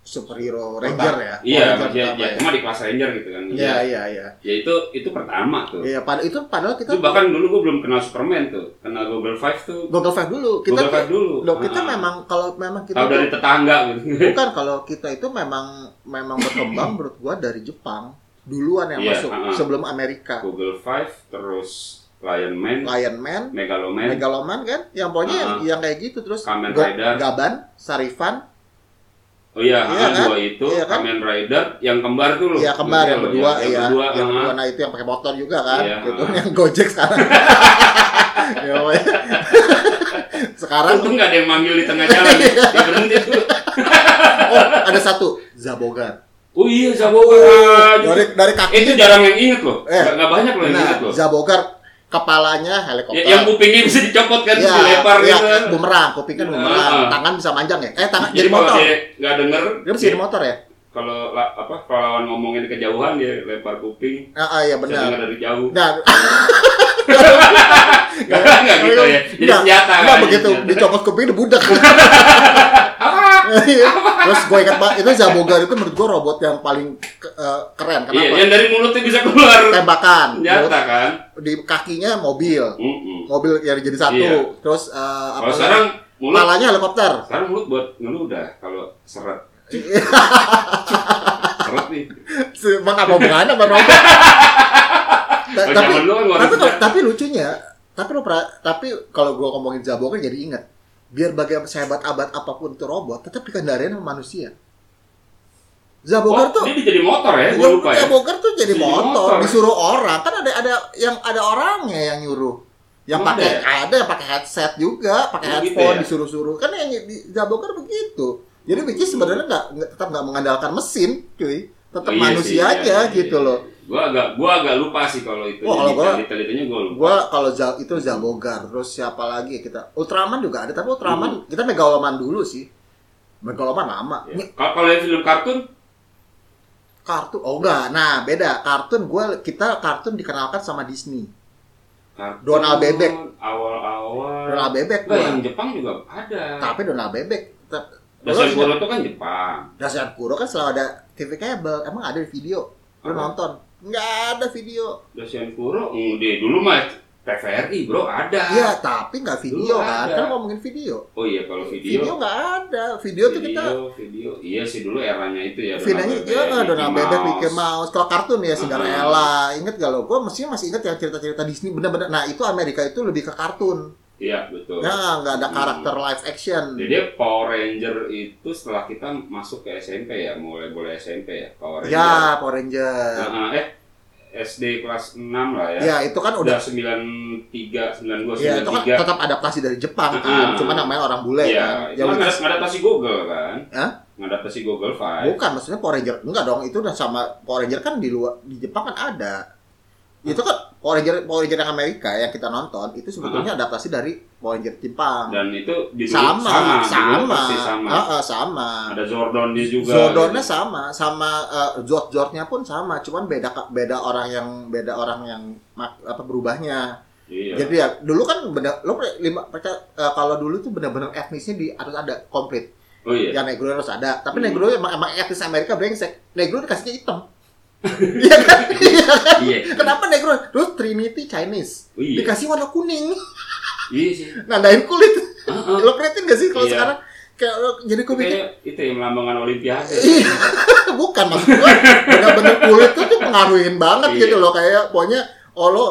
Speaker 2: superhero Ranger ya.
Speaker 1: Iya,
Speaker 2: Power Ranger
Speaker 1: maksudnya
Speaker 2: pertama
Speaker 1: ya, cuma di kelas Ranger gitu kan.
Speaker 2: Iya iya iya.
Speaker 1: Ya itu itu pertama tuh.
Speaker 2: Iya pada itu padahal kita
Speaker 1: Itu bahkan dulu gue belum kenal Superman tuh. Kenal Google Five tuh.
Speaker 2: Google Five dulu. Kita
Speaker 1: Google Five dulu.
Speaker 2: Loh, kita
Speaker 1: Ah.
Speaker 2: memang kalau memang kita
Speaker 1: Tahu
Speaker 2: tuh-
Speaker 1: dari tetangga gitu.
Speaker 2: bukan kalau kita itu memang memang berkembang menurut gua dari Jepang duluan yang
Speaker 1: Iya,
Speaker 2: masuk
Speaker 1: uh-uh.
Speaker 2: sebelum Amerika.
Speaker 1: Google Five terus Lion Man,
Speaker 2: Lion Man,
Speaker 1: Megaloman,
Speaker 2: Megaloman kan, yang pokoknya yang, yang kayak gitu terus
Speaker 1: Kamen
Speaker 2: Go-
Speaker 1: Rider.
Speaker 2: Gaban, Sarifan,
Speaker 1: Oh iya,
Speaker 2: Iya
Speaker 1: ah,
Speaker 2: kan?
Speaker 1: dua itu
Speaker 2: Iya kan?
Speaker 1: Kamen Rider yang kembar tuh loh.
Speaker 2: ya kembar yang
Speaker 1: Betul,
Speaker 2: berdua,
Speaker 1: Iya, yang
Speaker 2: ya,
Speaker 1: berdua.
Speaker 2: yang
Speaker 1: ah.
Speaker 2: berdua, nah itu yang pakai motor juga kan,
Speaker 1: Iya,
Speaker 2: gitu,
Speaker 1: uh-uh.
Speaker 2: yang Gojek sekarang. Ya, pokoknya. sekarang
Speaker 1: Untung nggak ada yang manggil di tengah jalan.
Speaker 2: Iya.
Speaker 1: Dia berhenti tuh.
Speaker 2: oh ada satu Zabogan.
Speaker 1: Oh iya, Zabogan.
Speaker 2: Dari dari kaki
Speaker 1: itu jarang yang inget loh.
Speaker 2: Eh.
Speaker 1: Nggak nggak banyak loh yang inget
Speaker 2: Nah,
Speaker 1: loh.
Speaker 2: Zabogar kepalanya helikopter.
Speaker 1: iya, Ya, yang kupingnya bisa dicopot kan,
Speaker 2: Iya,
Speaker 1: bisa dilempar
Speaker 2: iya,
Speaker 1: gitu.
Speaker 2: bumerang, kuping kan
Speaker 1: Nah,
Speaker 2: bumerang,
Speaker 1: ah.
Speaker 2: tangan bisa manjang ya. Eh, tangan jadi,
Speaker 1: Jadi kalau
Speaker 2: motor.
Speaker 1: dia Iya. nggak denger,
Speaker 2: Dia bisa
Speaker 1: dia-
Speaker 2: jadi motor ya?
Speaker 1: kalau la- apa kalau lawan ngomongin di kejauhan dia lempar kuping.
Speaker 2: Ah, ah, iya
Speaker 1: Bisa
Speaker 2: benar. Nah,
Speaker 1: denger dari jauh.
Speaker 2: Dan
Speaker 1: Nggak nggak gitu ya. Jadi senjata
Speaker 2: Enggak
Speaker 1: kan,
Speaker 2: begitu
Speaker 1: senjata.
Speaker 2: dicopot kuping dia budak.
Speaker 1: Apa?
Speaker 2: Iya. Terus gue ingat banget itu Zabogar itu menurut gue robot yang paling ke- eh, keren
Speaker 1: Iya,
Speaker 2: kenapa?
Speaker 1: yang dari mulutnya bisa keluar
Speaker 2: Tembakan.
Speaker 1: senjata kan.
Speaker 2: Di kakinya mobil.
Speaker 1: Mm-mm.
Speaker 2: Mobil yang jadi satu.
Speaker 1: Iya.
Speaker 2: Terus eh, apa?
Speaker 1: Kalau sekarang mulut
Speaker 2: Malanya helikopter.
Speaker 1: sekarang mulut buat ngeludah kalau seret. seret nih.
Speaker 2: Emang apa hubungannya sama robot?
Speaker 1: Oh,
Speaker 2: Ta- Eh, tapi
Speaker 1: zaman dulu kan warna
Speaker 2: tapi kalau-
Speaker 1: senjata.
Speaker 2: tapi lucunya tapi lo pra- tapi kalau gua ngomongin Jabongan jadi ingat biar bagaimana sehebat abad apapun itu robot tetap dikendarain sama manusia
Speaker 1: Oh,
Speaker 2: Zabogar tuh iya,
Speaker 1: dia jadi motor ya, gue
Speaker 2: Zabogar
Speaker 1: lupa ya.
Speaker 2: Zabogar tuh jadi
Speaker 1: Jadi
Speaker 2: motor,
Speaker 1: motor.
Speaker 2: disuruh orang kan ada ada yang ada orangnya yang nyuruh yang
Speaker 1: Emang
Speaker 2: pakai
Speaker 1: ada
Speaker 2: ada yang pakai headset juga pakai
Speaker 1: Oh, gitu
Speaker 2: headphone
Speaker 1: ya?
Speaker 2: disuruh-suruh kan yang di Zabogar begitu jadi which is sebenarnya nggak nggak- tetap nggak mengandalkan mesin cuy tetap
Speaker 1: Oh, iya sih,
Speaker 2: manusia
Speaker 1: iya,
Speaker 2: aja
Speaker 1: iya,
Speaker 2: gitu
Speaker 1: iya.
Speaker 2: loh
Speaker 1: Gua agak gua agak lupa sih kalau itu.
Speaker 2: Wah, kalau gua-
Speaker 1: detail-detailnya gua lupa.
Speaker 2: Gua kalau Za- itu Zabogar, terus siapa lagi ya kita? Ultraman juga ada, tapi
Speaker 1: Hmm.
Speaker 2: Ultraman kita Megaloman dulu sih. Megaloman lama.
Speaker 1: Ya.
Speaker 2: Ini
Speaker 1: Kalau kalau yang film kartun
Speaker 2: Kartun, oh enggak. Nah, beda. Kartun gua kita kartun dikenalkan sama Disney.
Speaker 1: Kartun
Speaker 2: Donald Bebek.
Speaker 1: Awal-awal.
Speaker 2: Donald Bebek
Speaker 1: Nah,
Speaker 2: gua.
Speaker 1: yang Jepang juga ada.
Speaker 2: Tapi Donald Bebek. tetap-
Speaker 1: Dasar
Speaker 2: Lu-
Speaker 1: Goro itu kan Jepang.
Speaker 2: Dasar Kuro kan selalu ada TV kabel. Emang ada di video? Lu
Speaker 1: Apa?
Speaker 2: nonton? Enggak ada video.
Speaker 1: Dasar Goro, mm, di dulu mah TVRI bro ada.
Speaker 2: Iya, tapi nggak video
Speaker 1: Dulu Ah.
Speaker 2: kan.
Speaker 1: ada.
Speaker 2: Kan ngomongin video.
Speaker 1: Oh iya kalau
Speaker 2: Video
Speaker 1: video.
Speaker 2: nggak ada. Video Iya, tuh kita
Speaker 1: video, video. Iya sih dulu eranya itu ya.
Speaker 2: Finanya
Speaker 1: Donald
Speaker 2: ya
Speaker 1: Bebek,
Speaker 2: Donald
Speaker 1: Mickey
Speaker 2: Bebek,
Speaker 1: Mouse.
Speaker 2: Mickey Mouse. Kalau kartun ya
Speaker 1: Hmm.
Speaker 2: Cinderella. Ingat gak lo? Gue mestinya masih ingat yang cerita-cerita Disney bener-bener. Nah itu Amerika itu lebih ke kartun.
Speaker 1: Iya betul.
Speaker 2: Nah nggak ada
Speaker 1: Hmm.
Speaker 2: karakter live action.
Speaker 1: Jadi Power Ranger itu setelah kita masuk ke SMP ya, mulai boleh SMP ya Power Ranger.
Speaker 2: Ya Power Ranger.
Speaker 1: Nah, eh SD kelas 6 lah ya.
Speaker 2: Ya itu kan
Speaker 1: Udah
Speaker 2: udah.
Speaker 1: 93, 92,
Speaker 2: Ya itu kan
Speaker 1: 93.
Speaker 2: tetap adaptasi dari
Speaker 1: Hmm.
Speaker 2: Jepang kan. Cuma namanya orang bule
Speaker 1: Iya,
Speaker 2: kan.
Speaker 1: itu
Speaker 2: Ya,
Speaker 1: kan
Speaker 2: which is-
Speaker 1: ngadap- ngadaptasi Google kan?
Speaker 2: Hah?
Speaker 1: Ngadaptasi Google Five.
Speaker 2: Bukan maksudnya Power Ranger enggak dong. Itu udah sama Power Ranger kan di luar di Jepang kan ada. Itu kan Power Ranger Power Ranger yang Amerika ya, yang kita nonton itu
Speaker 1: Hmm.
Speaker 2: sebetulnya adaptasi dari Power Ranger Jepang.
Speaker 1: Dan itu di dulu
Speaker 2: sama
Speaker 1: sama,
Speaker 2: sama
Speaker 1: Di dulu pasti sama.
Speaker 2: Ah, ah, sama
Speaker 1: Ada Zordon dia juga.
Speaker 2: Zordonnya sama sama jord jordnya pun sama cuman beda beda orang yang beda orang yang mak- apa berubahnya
Speaker 1: Iya.
Speaker 2: jadi ya dulu kan bener lo pre- lima perca- eh, kalau dulu tuh bener-bener etnisnya di harus ada komplit
Speaker 1: oh iya.
Speaker 2: yang negro harus ada tapi
Speaker 1: Hmm.
Speaker 2: negro emang, emang etnis Amerika brengsek negro dikasihnya hitam Iya kan? Iya kan?
Speaker 1: Iya.
Speaker 2: Kenapa negro? Terus Trinity Chinese
Speaker 1: Oh, iya.
Speaker 2: dikasih warna kuning,
Speaker 1: Iya sih.
Speaker 2: nandain kulit.
Speaker 1: Heeh.
Speaker 2: Lo kreatin gak sih kalau
Speaker 1: Iya.
Speaker 2: sekarang? Kayak lo jadi gue mikir,
Speaker 1: Kayak itu yang melambangkan olimpiade.
Speaker 2: Iya, bukan maksud gua bener-bener kulit tuh tuh pengaruhin banget
Speaker 1: Iya.
Speaker 2: gitu loh kayak pokoknya oh lo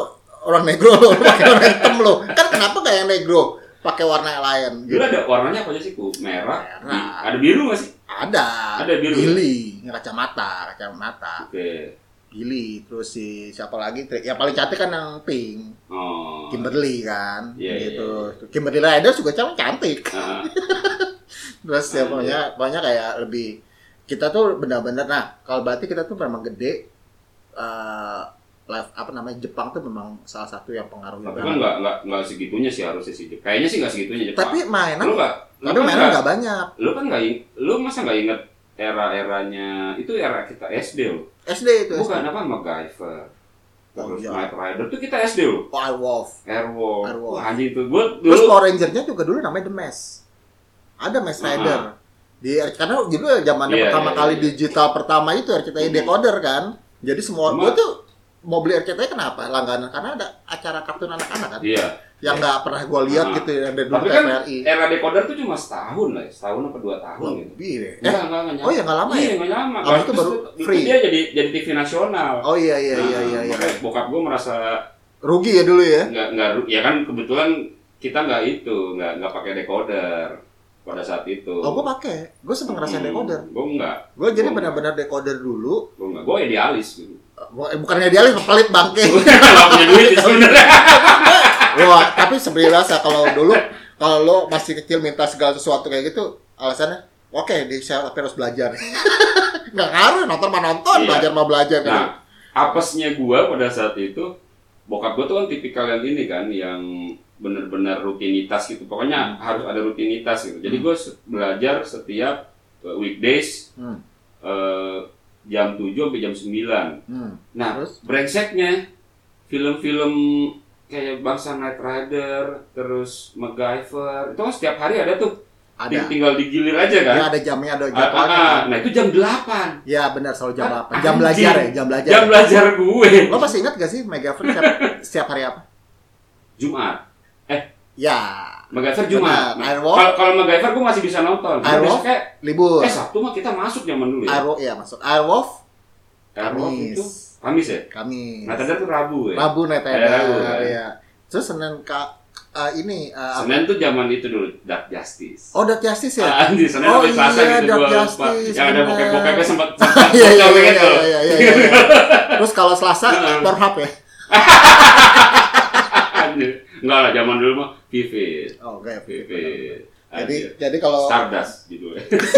Speaker 2: orang negro lo lo pakai warna hitam lo kan kenapa gak yang negro pakai warna lain
Speaker 1: Dulu
Speaker 2: gitu
Speaker 1: ada warnanya apa aja sih? Ku? Merah.
Speaker 2: Merah.
Speaker 1: bi- Ada biru nggak sih?
Speaker 2: ada
Speaker 1: Ada biru. ya?
Speaker 2: Billy kacamata kacamata
Speaker 1: Oke.
Speaker 2: Billy terus si siapa lagi Tri- yang paling cantik kan yang pink
Speaker 1: Oh.
Speaker 2: Kimberly kan
Speaker 1: Iya, iya,
Speaker 2: gitu Kimberly Ryder juga cewek cantik
Speaker 1: Heeh.
Speaker 2: Terus ya
Speaker 1: Ah,
Speaker 2: pokoknya, pokoknya kayak lebih kita tuh benar-benar nah kalau berarti kita tuh memang gede eh live apa namanya Jepang tuh memang salah satu yang pengaruh
Speaker 1: Tapi kan nggak nggak nggak segitunya sih harusnya sih. Kayaknya sih nggak segitunya Jepang.
Speaker 2: Tapi mainan
Speaker 1: lu nggak? Lu
Speaker 2: tapi
Speaker 1: kan
Speaker 2: mainan
Speaker 1: nggak?
Speaker 2: nggak banyak.
Speaker 1: Lu kan nggak? ing- Lu masa nggak inget era-eranya itu era kita SD loh.
Speaker 2: SD itu
Speaker 1: Bukan
Speaker 2: SD.
Speaker 1: apa MacGyver.
Speaker 2: Oh,
Speaker 1: Terus
Speaker 2: iya.
Speaker 1: Knight Rider itu kita SD loh.
Speaker 2: Oh, Wolf.
Speaker 1: Airwolf.
Speaker 2: Airwolf.
Speaker 1: Wah anjing itu gue
Speaker 2: Terus
Speaker 1: dulu.
Speaker 2: Power Ranger-nya juga dulu namanya The Mask. Ada Mask
Speaker 1: Ah.
Speaker 2: Rider. Di karena dulu zamannya
Speaker 1: Iya,
Speaker 2: pertama
Speaker 1: iya,
Speaker 2: kali
Speaker 1: iya.
Speaker 2: digital pertama itu RCTI
Speaker 1: Hmm.
Speaker 2: decoder kan. Jadi semua
Speaker 1: Cuma-
Speaker 2: gua tuh mau beli RCTI kenapa? Langganan karena ada acara kartun anak-anak kan.
Speaker 1: Iya.
Speaker 2: Yang nggak pernah gua
Speaker 1: Ah.
Speaker 2: lihat gitu yang dari dulu
Speaker 1: Tapi kan
Speaker 2: TVRI.
Speaker 1: era decoder tuh cuma setahun lah, ya. setahun apa dua tahun gitu.
Speaker 2: Lebih deh. Eh,
Speaker 1: Enggak, enggak, enggak
Speaker 2: oh iya nggak lama
Speaker 1: iya,
Speaker 2: ya?
Speaker 1: nggak lama.
Speaker 2: Abis itu
Speaker 1: Terus
Speaker 2: baru
Speaker 1: itu
Speaker 2: free.
Speaker 1: dia jadi jadi TV nasional.
Speaker 2: Oh iya iya iya
Speaker 1: Nah,
Speaker 2: iya. iya.
Speaker 1: makanya Bokap gue merasa
Speaker 2: Rugi ya dulu ya.
Speaker 1: nggak nggak ru- ya kan kebetulan kita nggak itu nggak nggak pakai decoder pada saat itu.
Speaker 2: Oh gua pakai. Gua sempet
Speaker 1: Hmm.
Speaker 2: ngerasain decoder.
Speaker 1: Gue nggak,
Speaker 2: Gua jadi
Speaker 1: Gua-
Speaker 2: benar-benar decoder dulu.
Speaker 1: gue nggak, gue idealis. Gitu.
Speaker 2: Eh, Bukannya idealis, pelit bangke.
Speaker 1: Kalau punya duit ya sebenarnya.
Speaker 2: Wah, tapi sebenarnya rasa kalau dulu kalau lo masih kecil minta segala sesuatu kayak gitu, alasannya oke, di saya tapi harus belajar. Nggak ngaruh nonton mah nonton,
Speaker 1: Iya.
Speaker 2: belajar mah belajar kan.
Speaker 1: Nah, apesnya gue pada saat itu, bokap gue tuh kan tipikal yang ini kan, yang bener-bener rutinitas gitu.
Speaker 2: Hmm.
Speaker 1: Pokoknya harus ada rutinitas gitu. Jadi gue belajar setiap eh, weekdays
Speaker 2: Hmm.
Speaker 1: eh, jam 7 sampai jam 9.
Speaker 2: Hmm.
Speaker 1: Nah,
Speaker 2: Terus?
Speaker 1: brengseknya film-film kayak bangsa Knight Rider, terus MacGyver, itu kan setiap hari ada tuh. Ting-
Speaker 2: Ada.
Speaker 1: Tinggal digilir aja kan.
Speaker 2: Ya ada jamnya, ada
Speaker 1: Ah, ah,
Speaker 2: jadwalnya.
Speaker 1: ah.
Speaker 2: kan.
Speaker 1: Nah, itu jam 8.
Speaker 2: Ya benar selalu jam
Speaker 1: Ah,
Speaker 2: 8. Jam belajar ya, jam belajar.
Speaker 1: Jam belajar gue.
Speaker 2: Lo masih ingat gak sih Megafer setiap, setiap hari apa?
Speaker 1: Jumat.
Speaker 2: Ya,
Speaker 1: MacGyver Jumat.
Speaker 2: Benar.
Speaker 1: Nah,
Speaker 2: Airwolf.
Speaker 1: Kalau kalau MacGyver gue masih bisa nonton. Cuma
Speaker 2: Airwolf.
Speaker 1: besoknya,
Speaker 2: libur.
Speaker 1: eh Sabtu mah kita masuk zaman dulu ya.
Speaker 2: Arwolf ya masuk. Arwolf
Speaker 1: Airwolf itu
Speaker 2: Kamis.
Speaker 1: Kamis ya.
Speaker 2: Kamis.
Speaker 1: Nah, tadi tuh Rabu ya.
Speaker 2: Rabu Night
Speaker 1: Ada Rabu, kan?
Speaker 2: Rider, ya. Terus Senin Kak eh, ini eh, apa?
Speaker 1: Senin tuh zaman itu dulu Dark Justice.
Speaker 2: Oh, Dark Justice ya?
Speaker 1: Ah, di Senin
Speaker 2: Oh
Speaker 1: sampai Selasa
Speaker 2: iya,
Speaker 1: gitu
Speaker 2: Dark
Speaker 1: gua lupa.
Speaker 2: Justice,
Speaker 1: Yang ada
Speaker 2: benar.
Speaker 1: bokep-bokepnya sempat
Speaker 2: Iya iya
Speaker 1: cowok
Speaker 2: iya
Speaker 1: gitu.
Speaker 2: iya iya. iya. Terus kalau Selasa
Speaker 1: Heeh.
Speaker 2: Pornhub ya.
Speaker 1: Anjir. Enggak lah zaman dulu mah Vivid.
Speaker 2: Oh, gaya.
Speaker 1: Vivid.
Speaker 2: Jadi
Speaker 1: Anjir.
Speaker 2: jadi kalau
Speaker 1: Stardust gitu ya. judulnya.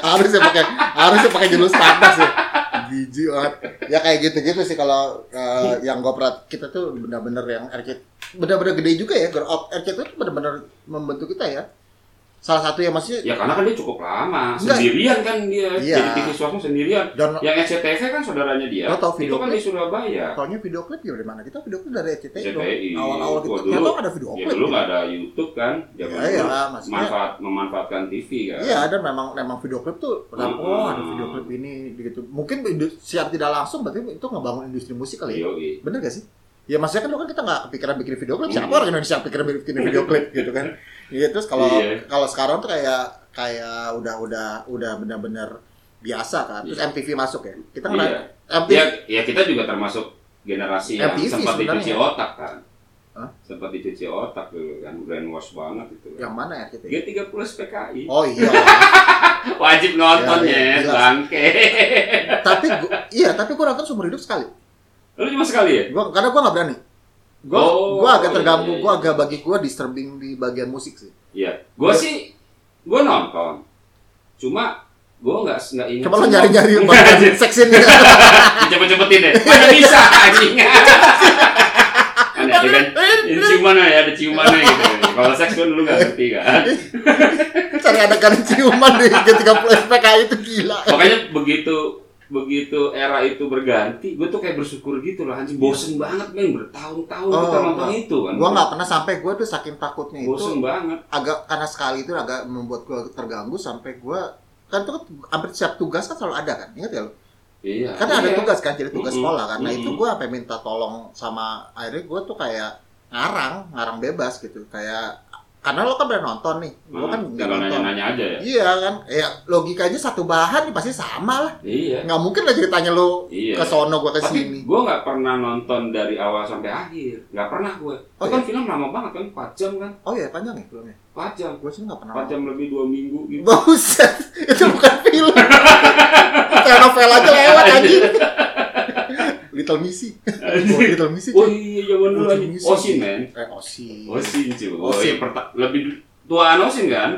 Speaker 2: harusnya pakai harusnya pakai judul standar sih. Jijik banget. Ya kayak gitu-gitu sih kalau eh, yang gue perat kita tuh benar-benar yang RC benar-benar gede juga ya. Grow up RC itu benar-benar membentuk kita ya. Salah satu yang masih
Speaker 1: Ya karena kan dia cukup lama,
Speaker 2: Enggak.
Speaker 1: sendirian kan dia.
Speaker 2: Iya.
Speaker 1: Jadi TV swasta sendirian.
Speaker 2: dan
Speaker 1: Yang SCTV kan saudaranya dia.
Speaker 2: Lo tau
Speaker 1: Itu
Speaker 2: video
Speaker 1: kan di Surabaya.
Speaker 2: Soalnya video klip ya dari mana? Kita video klip dari RCTI dong.
Speaker 1: CTI.
Speaker 2: Awal-awal gitu.
Speaker 1: Wah, dulu-
Speaker 2: Ternyata ada video
Speaker 1: Ya
Speaker 2: klip.
Speaker 1: dulu nggak ada YouTube kan, zaman
Speaker 2: Ya, iya
Speaker 1: dulu
Speaker 2: lah, maksudnya
Speaker 1: manfaat memanfaatkan TV kan.
Speaker 2: Iya, dan memang memang video klip tuh kenapa
Speaker 1: Mm-mm.
Speaker 2: oh, ada video klip ini gitu. Mungkin indu- secara tidak langsung berarti itu ngebangun industri musik kali ya.
Speaker 1: Yoi.
Speaker 2: Bener gak sih? Ya maksudnya kan dulu kan kita nggak kepikiran bikin video klip, siapa
Speaker 1: Mm.
Speaker 2: orang Indonesia yang kepikiran bikin video klip gitu kan. Iya, terus kalau
Speaker 1: Iya.
Speaker 2: kalau sekarang tuh kayak kayak udah udah udah benar-benar biasa kan. Terus MTV masuk ya.
Speaker 1: Iya.
Speaker 2: Kita nggak MTV
Speaker 1: Ya, ya kita juga termasuk generasi yang
Speaker 2: MTV
Speaker 1: sempat
Speaker 2: sebenarnya. ya?
Speaker 1: dicuci otak kan.
Speaker 2: Hah?
Speaker 1: Sempat dicuci otak dulu kan, brainwash banget itu. Kan.
Speaker 2: yang mana ya kita?
Speaker 1: G30 PKI.
Speaker 2: Oh iya.
Speaker 1: Wajib nonton
Speaker 2: Ya,
Speaker 1: ya,
Speaker 2: iya, jelas.
Speaker 1: bangke.
Speaker 2: tapi gua, iya, tapi gua nonton seumur hidup sekali.
Speaker 1: Lu cuma sekali ya?
Speaker 2: Gua karena gua nggak berani. Gua
Speaker 1: Oh,
Speaker 2: gua agak
Speaker 1: iya,
Speaker 2: terganggu,
Speaker 1: iya,
Speaker 2: gua
Speaker 1: iya.
Speaker 2: agak bagi gua disturbing di bagian musik sih.
Speaker 1: Iya. Gua
Speaker 2: Gua-
Speaker 1: sih gua nonton. Cuma gua nggak nggak ingat.
Speaker 2: Coba lo
Speaker 1: semua.
Speaker 2: nyari-nyari
Speaker 1: Nggak,
Speaker 2: bagian
Speaker 1: anjir.
Speaker 2: seksinnya.
Speaker 1: Cepet-cepetin deh. Mana bisa anjing. Ada ada kan. Ini ciumannya ya, ada ciumannya gitu. Kalau seks kan dulu nggak ngerti kan.
Speaker 2: Cari adegan ciuman di G30 SPKI itu gila.
Speaker 1: Makanya begitu begitu era itu berganti, gue tuh kayak bersyukur gitu loh, anjing bosen banget men bertahun-tahun
Speaker 2: Iya. Oh,
Speaker 1: kita nonton
Speaker 2: enggak.
Speaker 1: itu kan.
Speaker 2: Gua nggak pernah sampai gua tuh saking takutnya
Speaker 1: bosen
Speaker 2: itu
Speaker 1: banget.
Speaker 2: agak karena sekali itu agak membuat gua terganggu sampai gua kan tuh hampir setiap tugas kan selalu ada kan ingat ya lo
Speaker 1: Iya.
Speaker 2: karena ada
Speaker 1: iya.
Speaker 2: tugas kan jadi tugas
Speaker 1: Mm-mm.
Speaker 2: sekolah karena itu
Speaker 1: Mm-mm.
Speaker 2: gua sampai minta tolong sama akhirnya gua tuh kayak ngarang ngarang bebas gitu kayak karena lo kan pernah nonton nih gua
Speaker 1: Nah,
Speaker 2: kan nggak
Speaker 1: tinggal
Speaker 2: nonton
Speaker 1: nanya-nanya aja ya.
Speaker 2: iya kan ya logikanya satu bahan ya pasti sama lah
Speaker 1: Iya.
Speaker 2: nggak mungkin lah ceritanya lo
Speaker 1: Iya.
Speaker 2: ke sono gua ke
Speaker 1: Tapi
Speaker 2: sini
Speaker 1: gue nggak pernah nonton dari awal sampai akhir, nggak pernah gue.
Speaker 2: Oh,
Speaker 1: Oh, kan film lama banget kan, 4 jam kan,
Speaker 2: Oh iya panjang ya filmnya?
Speaker 1: 4 jam,
Speaker 2: Gue sih nggak pernah.
Speaker 1: 4 jam lebih 2 minggu gitu.
Speaker 2: Buset, itu bukan film. Kayak novel aja lewat anjing. Little Missy. Oh,
Speaker 1: Anjing.
Speaker 2: Little Missy.
Speaker 1: Oh iya zaman dulu aja.
Speaker 2: Anjing.
Speaker 1: Osin men.
Speaker 2: Eh, Osi.
Speaker 1: Osin cuy. Oh
Speaker 2: Osin.
Speaker 1: iya perta- lebih tuaan Osin kan?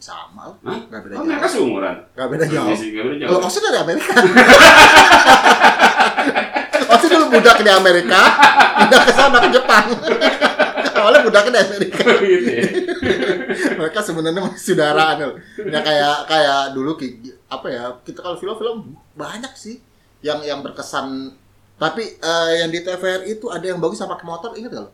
Speaker 2: Sama.
Speaker 1: Hah?
Speaker 2: Gak beda
Speaker 1: Kan
Speaker 2: jauh.
Speaker 1: mereka seumuran. Iya
Speaker 2: Gak beda jauh.
Speaker 1: Osin, nggak beda
Speaker 2: Iya. Kalau
Speaker 1: jauh.
Speaker 2: Osi dari Amerika. Osi dulu budak di Amerika, pindah ke sana ke Jepang. soalnya budaknya dari Amerika
Speaker 1: gitu ya.
Speaker 2: mereka sebenarnya masih saudaraan loh. Ya kayak kayak dulu ki- apa ya kita kalau film-film banyak sih yang yang berkesan tapi eh, yang di TVRI itu ada yang bagus sama pakai motor ingat gak lo?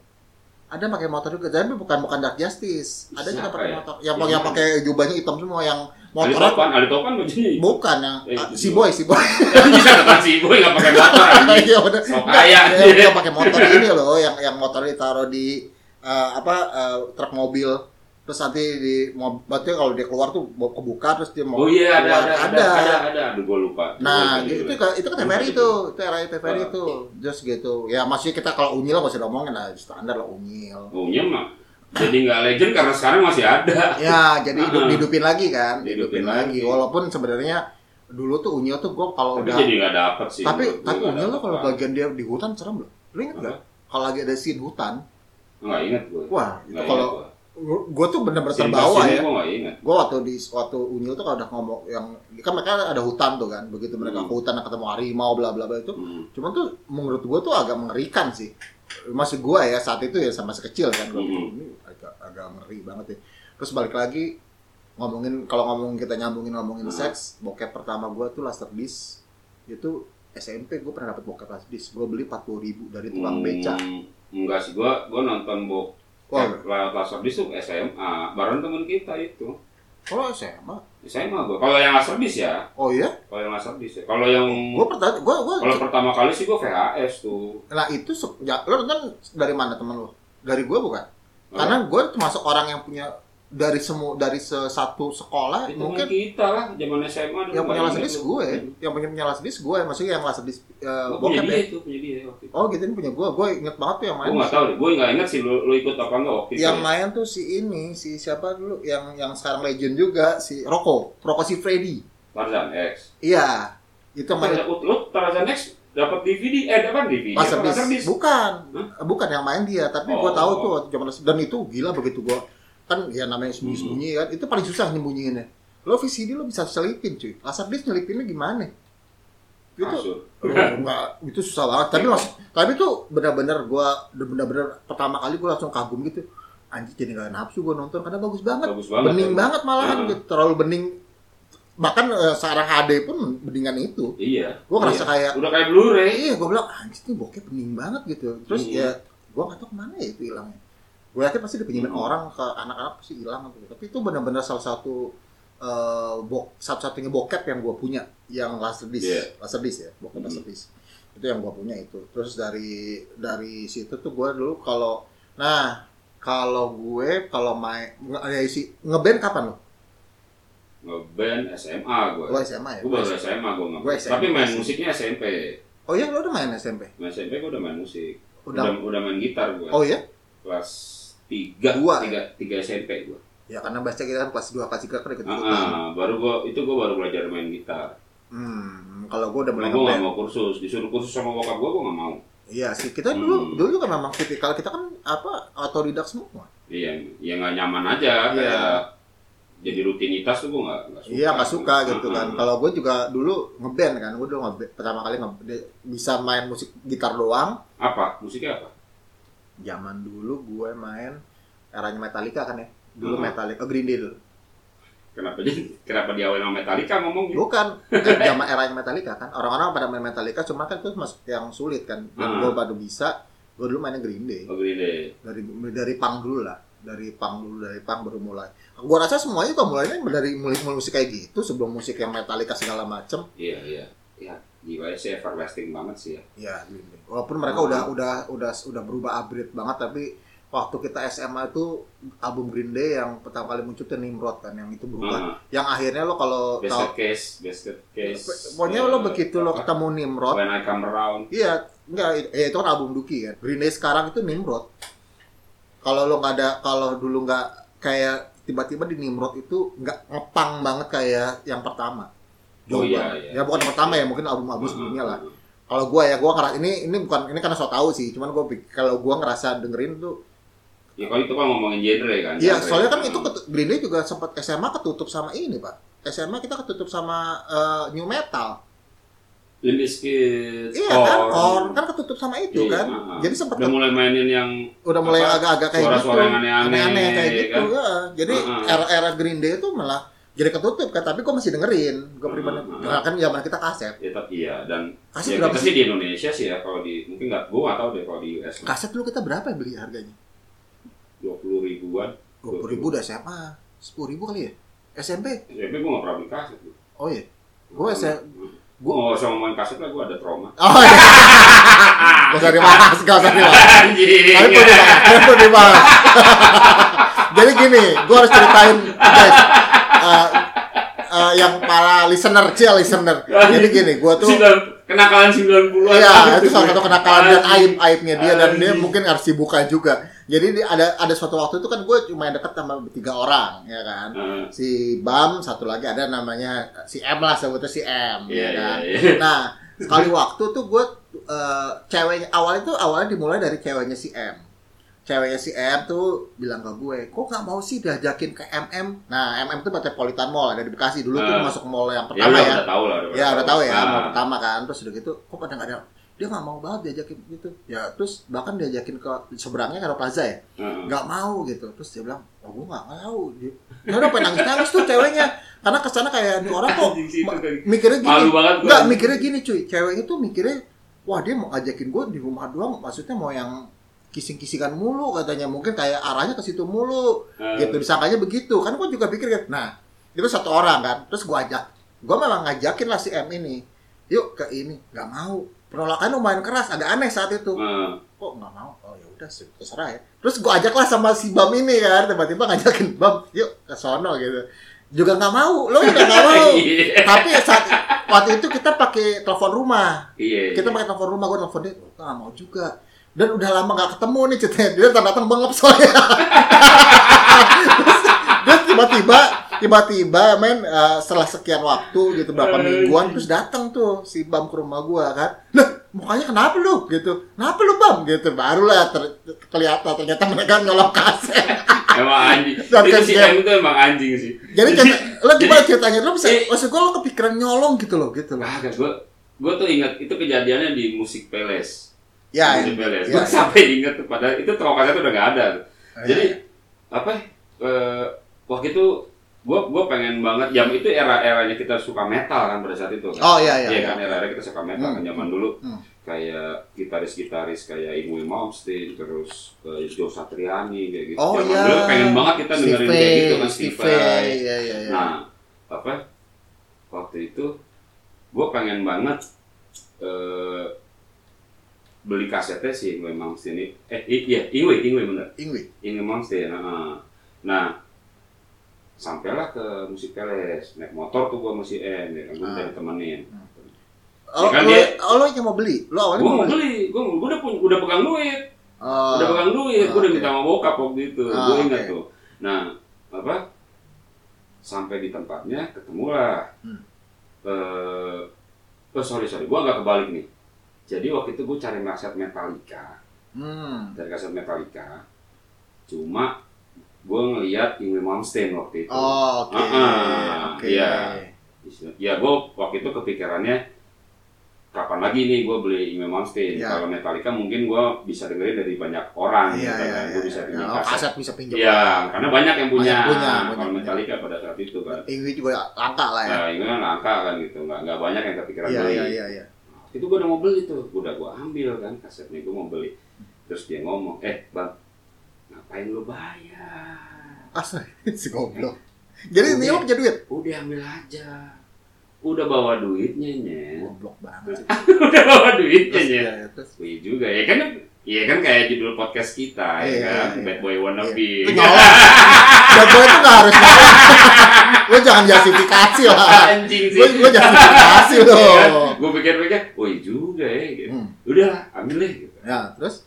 Speaker 2: Ada yang pakai motor juga, tapi bukan bukan Dark Justice. Ada juga
Speaker 1: Siapa
Speaker 2: pakai
Speaker 1: ya?
Speaker 2: motor. Yang
Speaker 1: Yang
Speaker 2: pakai yang pakai jubahnya hitam semua, yang
Speaker 1: Ali
Speaker 2: motornya
Speaker 1: Topan, Ali Topan lucunya.
Speaker 2: bukan yang
Speaker 1: Eh,
Speaker 2: ah,
Speaker 1: itu
Speaker 2: si
Speaker 1: juga.
Speaker 2: boy si boy.
Speaker 1: Bisa depan si ibu nggak pakai motor anjing.
Speaker 2: Iya benar.
Speaker 1: Sok kaya.
Speaker 2: Yang, yang pakai motor ini loh, oh, yang yang motor ditaruh di eh, apa eh, truk mobil. Terus nanti di mob- berarti kalau dia keluar tuh mau kebuka terus dia
Speaker 1: Oh
Speaker 2: mau
Speaker 1: iya ada
Speaker 2: keluar.
Speaker 1: ada ada ada Oh, iya, ada. Aduh gue lupa.
Speaker 2: Nah,
Speaker 1: Gua lupa
Speaker 2: itu
Speaker 1: judulnya.
Speaker 2: itu itu kan TVRI
Speaker 1: iya,
Speaker 2: itu, itu era TVRI itu. Just gitu. Ya masih kita kalau unyil lah masih udah omongin lah standar lah unyil.
Speaker 1: Maunya mah Oh, iya, jadi nggak legend karena sekarang masih ada.
Speaker 2: Ya, jadi hidup,
Speaker 1: Ah.
Speaker 2: dihidupin lagi kan,
Speaker 1: Dihidupin
Speaker 2: dihidupin lagi.
Speaker 1: lagi.
Speaker 2: Walaupun sebenarnya dulu tuh unyil tuh gua kalau
Speaker 1: Tapi
Speaker 2: Oh, udah
Speaker 1: jadi nggak dapet sih.
Speaker 2: tapi
Speaker 1: menurut gua
Speaker 2: tapi
Speaker 1: nggak
Speaker 2: unyil tuh
Speaker 1: dapet
Speaker 2: kalau
Speaker 1: banget.
Speaker 2: bagian dia di hutan serem loh. Lu inget
Speaker 1: Apa?
Speaker 2: nggak? Kalau lagi ada scene hutan,
Speaker 1: Nggak inget gue.
Speaker 2: wah itu
Speaker 1: Nggak
Speaker 2: kalau
Speaker 1: ingat gua.
Speaker 2: gue tuh bener-bener
Speaker 1: Scene per
Speaker 2: terbawa
Speaker 1: scene-nya Gua
Speaker 2: ya.
Speaker 1: Nah, iya. nggak inget.
Speaker 2: Gue waktu di waktu unyil tuh kalau udah ngomong yang kan mereka ada hutan tuh kan, begitu mereka
Speaker 1: Hmm.
Speaker 2: ke hutan ketemu harimau bla bla bla itu
Speaker 1: Hmm.
Speaker 2: Cuman tuh menurut gue tuh agak mengerikan sih. Maksud gue ya saat itu ya sama sekecil kan. Gua
Speaker 1: Mhm.
Speaker 2: ini agak agak ngeri banget ya. Terus balik lagi ngomongin kalau ngomongin kita nyambungin ngomongin
Speaker 1: Mhm.
Speaker 2: seks, bokep pertama gue tuh laser disc itu SMP gue pernah dapet bokep laser disc. Gue beli 40 ribu dari tukang
Speaker 1: Hmm,
Speaker 2: beca.
Speaker 1: Enggak sih gua gua nonton eh, bok.
Speaker 2: Wah,
Speaker 1: Lewat laser disc tuh SMA. Bareng temen kita itu.
Speaker 2: kalau SMA?
Speaker 1: SMA gua. Kalau yang laser disc ya.
Speaker 2: Oh iya?
Speaker 1: Kalau yang laser disc ya. Kalau yang
Speaker 2: Gue pertama, gue gue.
Speaker 1: kalau pertama kali sih gua VHS tuh.
Speaker 2: Nah itu se- ya, lo nonton dari mana teman lo? Dari gue bukan? Karena gue termasuk orang yang punya dari semua dari se- satu sekolah
Speaker 1: Itu mungkin
Speaker 2: mungkin
Speaker 1: kita lah zaman SMA dulu.
Speaker 2: yang punya
Speaker 1: nggak
Speaker 2: laser
Speaker 1: inget
Speaker 2: disc
Speaker 1: lu.
Speaker 2: gue
Speaker 1: Hmm.
Speaker 2: ya. yang punya punya laser disc gue maksudnya yang laser disc eh,
Speaker 1: Gua punya
Speaker 2: bokep
Speaker 1: dia
Speaker 2: ya
Speaker 1: itu, punya dia waktu itu.
Speaker 2: oh gitu ini punya gue gue inget banget tuh yang main
Speaker 1: Gue nggak tahu deh, gue nggak ingat sih lu, lu ikut apa nggak waktu itu.
Speaker 2: yang main tuh si ini si siapa dulu yang yang sekarang legend juga si Rocco Rocco si Freddy
Speaker 1: Tarzan X.
Speaker 2: iya itu yang main
Speaker 1: Tarzan, lu Tarzan X dapat DVD, eh dapat DVD.
Speaker 2: laser
Speaker 1: apa
Speaker 2: disc
Speaker 1: disc?
Speaker 2: bukan Eh,
Speaker 1: Hah?
Speaker 2: bukan yang main dia tapi gue
Speaker 1: Oh.
Speaker 2: tahu tuh waktu zaman dan itu gila begitu gue kan ya namanya sembunyi sembunyi
Speaker 1: Hmm.
Speaker 2: kan itu paling susah nyembunyiinnya lo VCD lo bisa selipin cuy laser disc nyelipinnya gimana itu Oh,
Speaker 1: Kasur.
Speaker 2: Enggak, itu susah banget. Tapi mas, tapi tuh benar-benar gua benar-benar pertama kali gua langsung kagum gitu. Anjir jadi gak nafsu gua nonton karena bagus banget.
Speaker 1: Bagus banget.
Speaker 2: bening
Speaker 1: ya.
Speaker 2: banget malahan
Speaker 1: Hmm.
Speaker 2: gitu. Terlalu bening. Bahkan eh, searah HD pun beningan itu.
Speaker 1: Iya.
Speaker 2: Gua ngerasa kayak
Speaker 1: Iya. udah kayak Blu-ray.
Speaker 2: iya gua bilang anjir ini bokep bening banget gitu. Terus
Speaker 1: Hmm.
Speaker 2: ya gua gak tahu kemana ya itu hilangnya. Gua yakin pasti dipinjemin
Speaker 1: Hmm.
Speaker 2: orang ke anak-anak pasti hilang gitu. Tapi itu benar-benar salah satu eh, bok satu-satunya bokep yang gua punya yang laserdisc.
Speaker 1: Iya.
Speaker 2: Laserdisc ya, bokep
Speaker 1: Hmm.
Speaker 2: laserdisc. Itu yang gua punya itu. Terus dari dari situ tuh gua dulu kalau nah kalau gue kalau main nge- ada isi ngeband kapan lo?
Speaker 1: Ngeband SMA gue.
Speaker 2: Lo SMA ya?
Speaker 1: Gue baru SMA gue nggak.
Speaker 2: Gua SMA.
Speaker 1: Tapi main musiknya SMP.
Speaker 2: Oh iya lo udah main SMP?
Speaker 1: Main SMP gue udah main musik.
Speaker 2: Udah.
Speaker 1: Udah, udah main gitar gue.
Speaker 2: Oh iya?
Speaker 1: Kelas tiga,
Speaker 2: Dua,
Speaker 1: tiga, tiga SMP gue.
Speaker 2: Ya karena baca kita kan kelas 2 kelas 3 kan ikut
Speaker 1: Ah,
Speaker 2: ikutan.
Speaker 1: ah, baru gue itu gue baru belajar main gitar.
Speaker 2: Hmm, kalau gue udah mulai
Speaker 1: Gue
Speaker 2: ngeband.
Speaker 1: nggak mau kursus, disuruh kursus sama bokap gue gue nggak mau.
Speaker 2: Iya sih, kita
Speaker 1: Hmm.
Speaker 2: dulu dulu kan memang tipikal kita kan apa otodidak semua.
Speaker 1: Iya, ya nggak nyaman aja
Speaker 2: Iya.
Speaker 1: kayak jadi rutinitas tuh gue nggak nggak suka.
Speaker 2: Iya nggak suka gitu
Speaker 1: Ah,
Speaker 2: kan.
Speaker 1: ah.
Speaker 2: Kalau gue juga dulu ngeband kan, gue dulu ngeband, pertama kali nge- de- bisa main musik gitar doang.
Speaker 1: Apa musiknya apa?
Speaker 2: Zaman dulu gue main eranya Metallica kan ya. Dulu
Speaker 1: Hmm.
Speaker 2: Metallica, oh, Green Day dulu.
Speaker 1: Kenapa jadi kenapa diawali sama Metallica ngomongnya?
Speaker 2: Bukan, eh, zaman eranya Metallica kan. Orang-orang pada main Metallica, cuma kan itu masuk yang sulit kan. Dan
Speaker 1: Hmm.
Speaker 2: gue baru bisa, gue dulu mainnya Green Day.
Speaker 1: Oh, Green Day.
Speaker 2: dari dari pang dulu lah dari pang dulu dari pang baru mulai gua rasa semuanya kok mulainya dari mulai mulai musik kayak gitu sebelum musik yang metalika segala macem
Speaker 1: Iya iya. Ya, gila sih everlasting banget sih ya.
Speaker 2: ya Green Day. walaupun mereka
Speaker 1: Hmm.
Speaker 2: udah udah udah udah berubah upgrade banget tapi waktu kita SMA itu album Green Day yang pertama kali muncul tuh Nimrod kan yang itu berubah
Speaker 1: Ah,
Speaker 2: yang akhirnya lo kalau tahu
Speaker 1: basket case, basket case.
Speaker 2: pokoknya
Speaker 1: eh,
Speaker 2: lo begitu lo
Speaker 1: apa?
Speaker 2: ketemu Nimrod
Speaker 1: When I come around.
Speaker 2: Iya, enggak ya itu kan album Duki kan. Green Day sekarang itu Nimrod. Kalau lo nggak ada kalau dulu nggak kayak tiba-tiba di Nimrod itu nggak ngepang banget kayak yang pertama.
Speaker 1: Oh, iya,
Speaker 2: banget.
Speaker 1: iya.
Speaker 2: Ya bukan yang pertama ya, mungkin album-album sebelumnya lah.
Speaker 1: Ah, ah,
Speaker 2: Kalau gua ya gua ngerasa ini ini bukan ini karena so tau sih, cuman gua pik- kalau gua ngerasa dengerin tuh
Speaker 1: ah. Ya kalau itu kan ngomongin genre kan.
Speaker 2: Iya,
Speaker 1: genre.
Speaker 2: soalnya kan itu
Speaker 1: Ah.
Speaker 2: ketu- Green Day juga sempat SMA ketutup sama ini, Pak. SMA kita ketutup sama eh, new metal.
Speaker 1: Limbiskit,
Speaker 2: Iya kan, kor kan ketutup sama itu
Speaker 1: Iya,
Speaker 2: kan.
Speaker 1: ah.
Speaker 2: Jadi sempet
Speaker 1: Udah mulai mainin yang
Speaker 2: udah mulai
Speaker 1: apa,
Speaker 2: agak-agak kayak gitu.
Speaker 1: suara-suara yang aneh-aneh,
Speaker 2: Aneh-aneh kayak
Speaker 1: ya
Speaker 2: gitu. ya. Jadi
Speaker 1: Heeh.
Speaker 2: era-era Green Day itu malah jadi ketutup kan, tapi gue masih dengerin. Gue pribadi
Speaker 1: Heeh.
Speaker 2: nah, kan zaman kita kaset.
Speaker 1: ya tapi iya dan
Speaker 2: Kaset
Speaker 1: ya
Speaker 2: berapa
Speaker 1: kita sih
Speaker 2: sih?
Speaker 1: di Indonesia sih ya kalau di mungkin nggak gua nggak tahu deh kalau di US
Speaker 2: Kaset dulu kita berapa ya beli harganya?
Speaker 1: dua puluh ribuan
Speaker 2: Dua puluh ribu udah SMA, sepuluh ribu kali ya? SMP?
Speaker 1: SMP gua nggak pernah beli kaset gua
Speaker 2: Oh iya. Gua S-
Speaker 1: gua nggak usah ngomongin kaset lah gua ada trauma
Speaker 2: Oh iya. Gak usah dibahas, gak usah dibahas.
Speaker 1: anjing
Speaker 2: ah, Tapi perlu dibahas, tapi perlu dibahas. Jadi gini, gue harus ceritain guys. eh, eh, yang para listener, cia listener. Jadi gini, gue tuh
Speaker 1: Sembilan- kenakalan sembilan puluhan
Speaker 2: Iya, itu salah satu kenakalan dan aib aibnya dia dan dia
Speaker 1: Anjing.
Speaker 2: mungkin harus dibuka juga. Jadi di- ada ada suatu waktu itu kan gue cuma deket sama tiga orang, ya kan.
Speaker 1: Ah.
Speaker 2: Si Bam, satu lagi ada namanya si M lah sebutnya si M,
Speaker 1: iya
Speaker 2: ya
Speaker 1: iya
Speaker 2: kan.
Speaker 1: iya
Speaker 2: Nah, sekali waktu tuh gue eh, ceweknya awalnya tuh awalnya dimulai dari ceweknya si M. Ceweknya si M tuh bilang ke gue, kok nggak mau sih diajakin ke MM? Nah, MM tuh Metropolitan Mall ada di Bekasi dulu
Speaker 1: Ah.
Speaker 2: tuh masuk mall yang
Speaker 1: ya
Speaker 2: pertama
Speaker 1: udah
Speaker 2: ya.
Speaker 1: udah tahu lah
Speaker 2: Ya udah tahu ya,
Speaker 1: Ah.
Speaker 2: mau pertama kan, terus udah gitu, kok pada nggak ada, dia nggak mau banget diajakin gitu. Ya terus bahkan diajakin ke seberangnya Karo Plaza ya,
Speaker 1: Heeh.
Speaker 2: nggak mau gitu. Terus dia bilang, oh gue nggak mau. Dia dia udah pengen nangis nangis tuh ceweknya, karena kesana kayak ini orang kok
Speaker 1: Anjing sih, itu
Speaker 2: ma-
Speaker 1: kayak
Speaker 2: mikirnya gini,
Speaker 1: malu banget gua.
Speaker 2: nggak mikirnya gini cuy, cewek itu mikirnya, wah dia mau ajakin gue di rumah doang, maksudnya mau yang kising-kisingan mulu katanya mungkin kayak arahnya ke situ mulu
Speaker 1: Eh,
Speaker 2: gitu disangkanya begitu kan gue juga pikir kan nah itu satu orang kan terus gue ajak gue malah ngajakin lah si M ini yuk ke ini nggak mau penolakan lumayan keras agak aneh saat itu
Speaker 1: eh,
Speaker 2: kok nggak mau oh ya udah sih, terserah ya terus gue ajak lah sama si Bam ini kan tiba-tiba ngajakin Bam yuk ke sono gitu juga nggak mau lo juga nggak mau
Speaker 1: iya.
Speaker 2: tapi saat waktu itu kita pakai telepon rumah
Speaker 1: iya
Speaker 2: kita pakai telepon rumah gue telepon dia "Gua nggak mau juga dan udah lama gak ketemu nih ceritanya dia datang datang bengep soalnya Terus- terus tiba-tiba tiba-tiba men eh, setelah sekian waktu gitu berapa mingguan terus datang tuh si Bam ke rumah gua kan nah mukanya kenapa lu gitu kenapa lu Bam gitu barulah ter- kelihatan ternyata mereka nyolong kaset
Speaker 1: emang anjing
Speaker 2: Dan
Speaker 1: itu si
Speaker 2: kasihan.
Speaker 1: M itu emang anjing sih
Speaker 2: jadi cerita, lo gimana ceritanya lo bisa
Speaker 1: Jadi- eh
Speaker 2: maksud gua lo kepikiran nyolong gitu loh gitu loh
Speaker 1: Kagak, gue gue tuh ingat itu kejadiannya di musik peles.
Speaker 2: ya
Speaker 1: musik peles.
Speaker 2: ya.
Speaker 1: Gue
Speaker 2: Oh,
Speaker 1: sampai ingat tuh padahal itu trokasnya tuh udah gak ada. Jadi
Speaker 2: ya.
Speaker 1: apa? eh, waktu itu gue gue pengen banget jam itu era-eranya kita suka metal kan pada saat itu kan.
Speaker 2: oh iya iya,
Speaker 1: Iya
Speaker 2: iya.
Speaker 1: kan era-era kita suka metal kan
Speaker 2: Hmm.
Speaker 1: zaman dulu
Speaker 2: Hmm.
Speaker 1: kayak gitaris-gitaris kayak Imui Malmsteen terus eh, Joe Satriani kayak gitu.
Speaker 2: Oh,
Speaker 1: zaman
Speaker 2: iya.
Speaker 1: dulu pengen banget kita dengerin kayak gitu kan Steve Vai.
Speaker 2: Iya, iya, iya.
Speaker 1: Nah, apa waktu itu gue pengen banget eh, beli kasetnya si Ingwe Malmsteen ini. Eh, i- iya, Ingwe, Ingwe bener.
Speaker 2: Ingwe.
Speaker 1: Ingwe Malmsteen. Nah, nah, sampailah ke musik peles. Naik motor tuh gue masih M, ya kan? Gue
Speaker 2: Ah.
Speaker 1: temenin.
Speaker 2: Oh,
Speaker 1: kan
Speaker 2: lo,
Speaker 1: dia-
Speaker 2: oh, lo yang mau beli? Lo awalnya
Speaker 1: Gue
Speaker 2: mau
Speaker 1: mau
Speaker 2: beli?
Speaker 1: beli, gue udah pun, udah pegang duit.
Speaker 2: Oh,
Speaker 1: udah pegang duit, gue udah
Speaker 2: oke.
Speaker 1: minta sama bokap waktu itu,
Speaker 2: Ah,
Speaker 1: gue ingat
Speaker 2: oke.
Speaker 1: tuh. Nah, apa? Sampai di tempatnya, ketemulah.
Speaker 2: Hmm.
Speaker 1: Eh, oh sorry sorry, gue nggak kebalik nih. Jadi waktu itu gue cari kaset Metallica,
Speaker 2: Hmm.
Speaker 1: cari kaset Metallica. Cuma gue ngeliat Ingwe Malmsteen waktu itu.
Speaker 2: Oh, oke.
Speaker 1: Ah, ah,
Speaker 2: Oke.
Speaker 1: iya. Ya gue waktu itu kepikirannya kapan lagi nih gue beli Ingwe Malmsteen.
Speaker 2: Iya.
Speaker 1: Kalau Metallica mungkin gue bisa dengerin dari banyak orang,
Speaker 2: Iya,
Speaker 1: gitu kan.
Speaker 2: iya,
Speaker 1: gue
Speaker 2: iya.
Speaker 1: bisa
Speaker 2: iya.
Speaker 1: dengerin
Speaker 2: Oh,
Speaker 1: kaset.
Speaker 2: kaset bisa pinjam.
Speaker 1: Iya, karena banyak yang punya.
Speaker 2: Banyak punya, banyak
Speaker 1: kalau
Speaker 2: punya.
Speaker 1: Metallica pada saat itu kan.
Speaker 2: Ingwe juga langka lah ya.
Speaker 1: Nah, ini kan langka kan gitu, nggak nggak banyak yang kepikiran
Speaker 2: Iya,
Speaker 1: beli.
Speaker 2: iya, iya, iya.
Speaker 1: Itu gue udah mau beli tuh, gue udah gue ambil kan kasetnya gue mau beli. Terus dia ngomong, eh bang, ngapain lu bayar?
Speaker 2: Asal si goblok. Jadi ini
Speaker 1: Iya.
Speaker 2: lo punya duit?
Speaker 1: Udah ambil aja, udah bawa duitnya nyet,
Speaker 2: Goblok banget sih.
Speaker 1: udah bawa duitnya
Speaker 2: Terus,
Speaker 1: nyet.
Speaker 2: iya, iya, terus.
Speaker 1: Iya juga ya kan, iya kan kayak judul podcast kita ya
Speaker 2: Iya,
Speaker 1: kan,
Speaker 2: iya.
Speaker 1: Bad Boy Wannabe.
Speaker 2: Iya. Itu nyolong. Dan gue itu nggak harus nyolong. Lo jangan justifikasi lah.
Speaker 1: Anjing
Speaker 2: Lo
Speaker 1: sih.
Speaker 2: lo justifikasi
Speaker 1: Iya.
Speaker 2: lo.
Speaker 1: gue pikir-pikir, woi juga ya, gitu.
Speaker 2: Hmm.
Speaker 1: udah lah, ambil deh. Gitu.
Speaker 2: Ya, terus?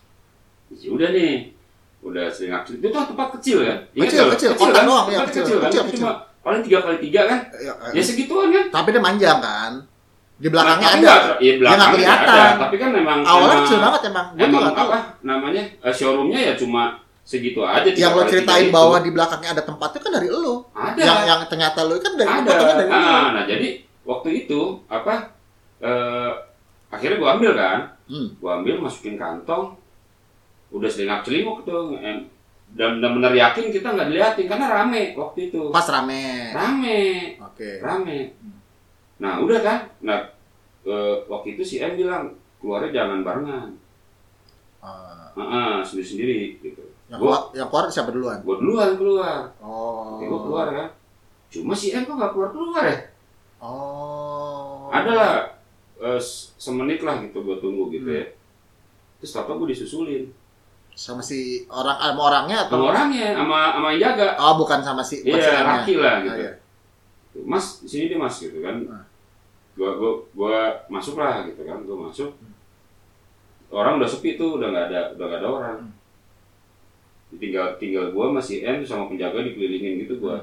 Speaker 1: Ya udah nih, udah sering aktif. Itu kan tempat kecil kan? Ingat
Speaker 2: Kecil,
Speaker 1: nggak?
Speaker 2: kecil,
Speaker 1: kecil
Speaker 2: kotak
Speaker 1: kan?
Speaker 2: doang, iya,
Speaker 1: Tempat
Speaker 2: kecil,
Speaker 1: kecil, kan?
Speaker 2: kecil,
Speaker 1: Itu
Speaker 2: kecil.
Speaker 1: Cuma paling tiga kali tiga kan?
Speaker 2: Iya, iya.
Speaker 1: Ya segituan kan?
Speaker 2: Tapi dia manjang kan? Di belakangnya
Speaker 1: Tapi
Speaker 2: ada.
Speaker 1: nggak- Iya belakangnya
Speaker 2: kelihatan.
Speaker 1: ada. Tapi kan memang
Speaker 2: Awalnya
Speaker 1: emang-
Speaker 2: kecil banget emang. Gue tuh
Speaker 1: Emang
Speaker 2: gak tahu.
Speaker 1: apa namanya eh, showroomnya ya cuma segitu aja. tiga
Speaker 2: Yang lo
Speaker 1: kali tiga
Speaker 2: ceritain
Speaker 1: itu.
Speaker 2: bahwa di belakangnya ada tempatnya kan dari lo.
Speaker 1: ada.
Speaker 2: Yang yang ternyata lo kan dari
Speaker 1: Iya. ada. nah,
Speaker 2: fotonya dari
Speaker 1: Ah,
Speaker 2: lo.
Speaker 1: nah jadi waktu itu apa eh, akhirnya gue ambil kan
Speaker 2: Hmm.
Speaker 1: gue ambil masukin kantong udah selinap celinguk tuh gitu. em. dan dan benar yakin kita nggak diliatin karena rame waktu itu
Speaker 2: Pas rame.
Speaker 1: rame
Speaker 2: Oke.
Speaker 1: rame nah udah kan nah eh, waktu itu si M bilang keluarnya jangan barengan
Speaker 2: Ah,
Speaker 1: sendiri sendiri gitu
Speaker 2: yang
Speaker 1: Gua-
Speaker 2: keluar, yang keluar siapa duluan?
Speaker 1: gue duluan keluar
Speaker 2: Oh.
Speaker 1: Oke, gua keluar kan cuma si M kok nggak keluar keluar ya
Speaker 2: Oh.
Speaker 1: ada lah eh, s- semenit lah gitu gue tunggu gitu ya
Speaker 2: Hmm.
Speaker 1: terus apa gue disusulin
Speaker 2: Sama si orang eh, sama orangnya atau?
Speaker 1: sama orangnya sama sama yang jaga
Speaker 2: Oh, bukan sama si
Speaker 1: iya
Speaker 2: pacarnya.
Speaker 1: laki lah
Speaker 2: Ah,
Speaker 1: gitu
Speaker 2: iya.
Speaker 1: mas di sini deh mas gitu kan
Speaker 2: Ah.
Speaker 1: gua gua gua masuk lah gitu kan gua masuk
Speaker 2: Hmm.
Speaker 1: orang udah sepi tuh udah nggak ada udah nggak ada orang
Speaker 2: Hmm.
Speaker 1: tinggal tinggal gua masih M sama penjaga dikelilingin gitu gua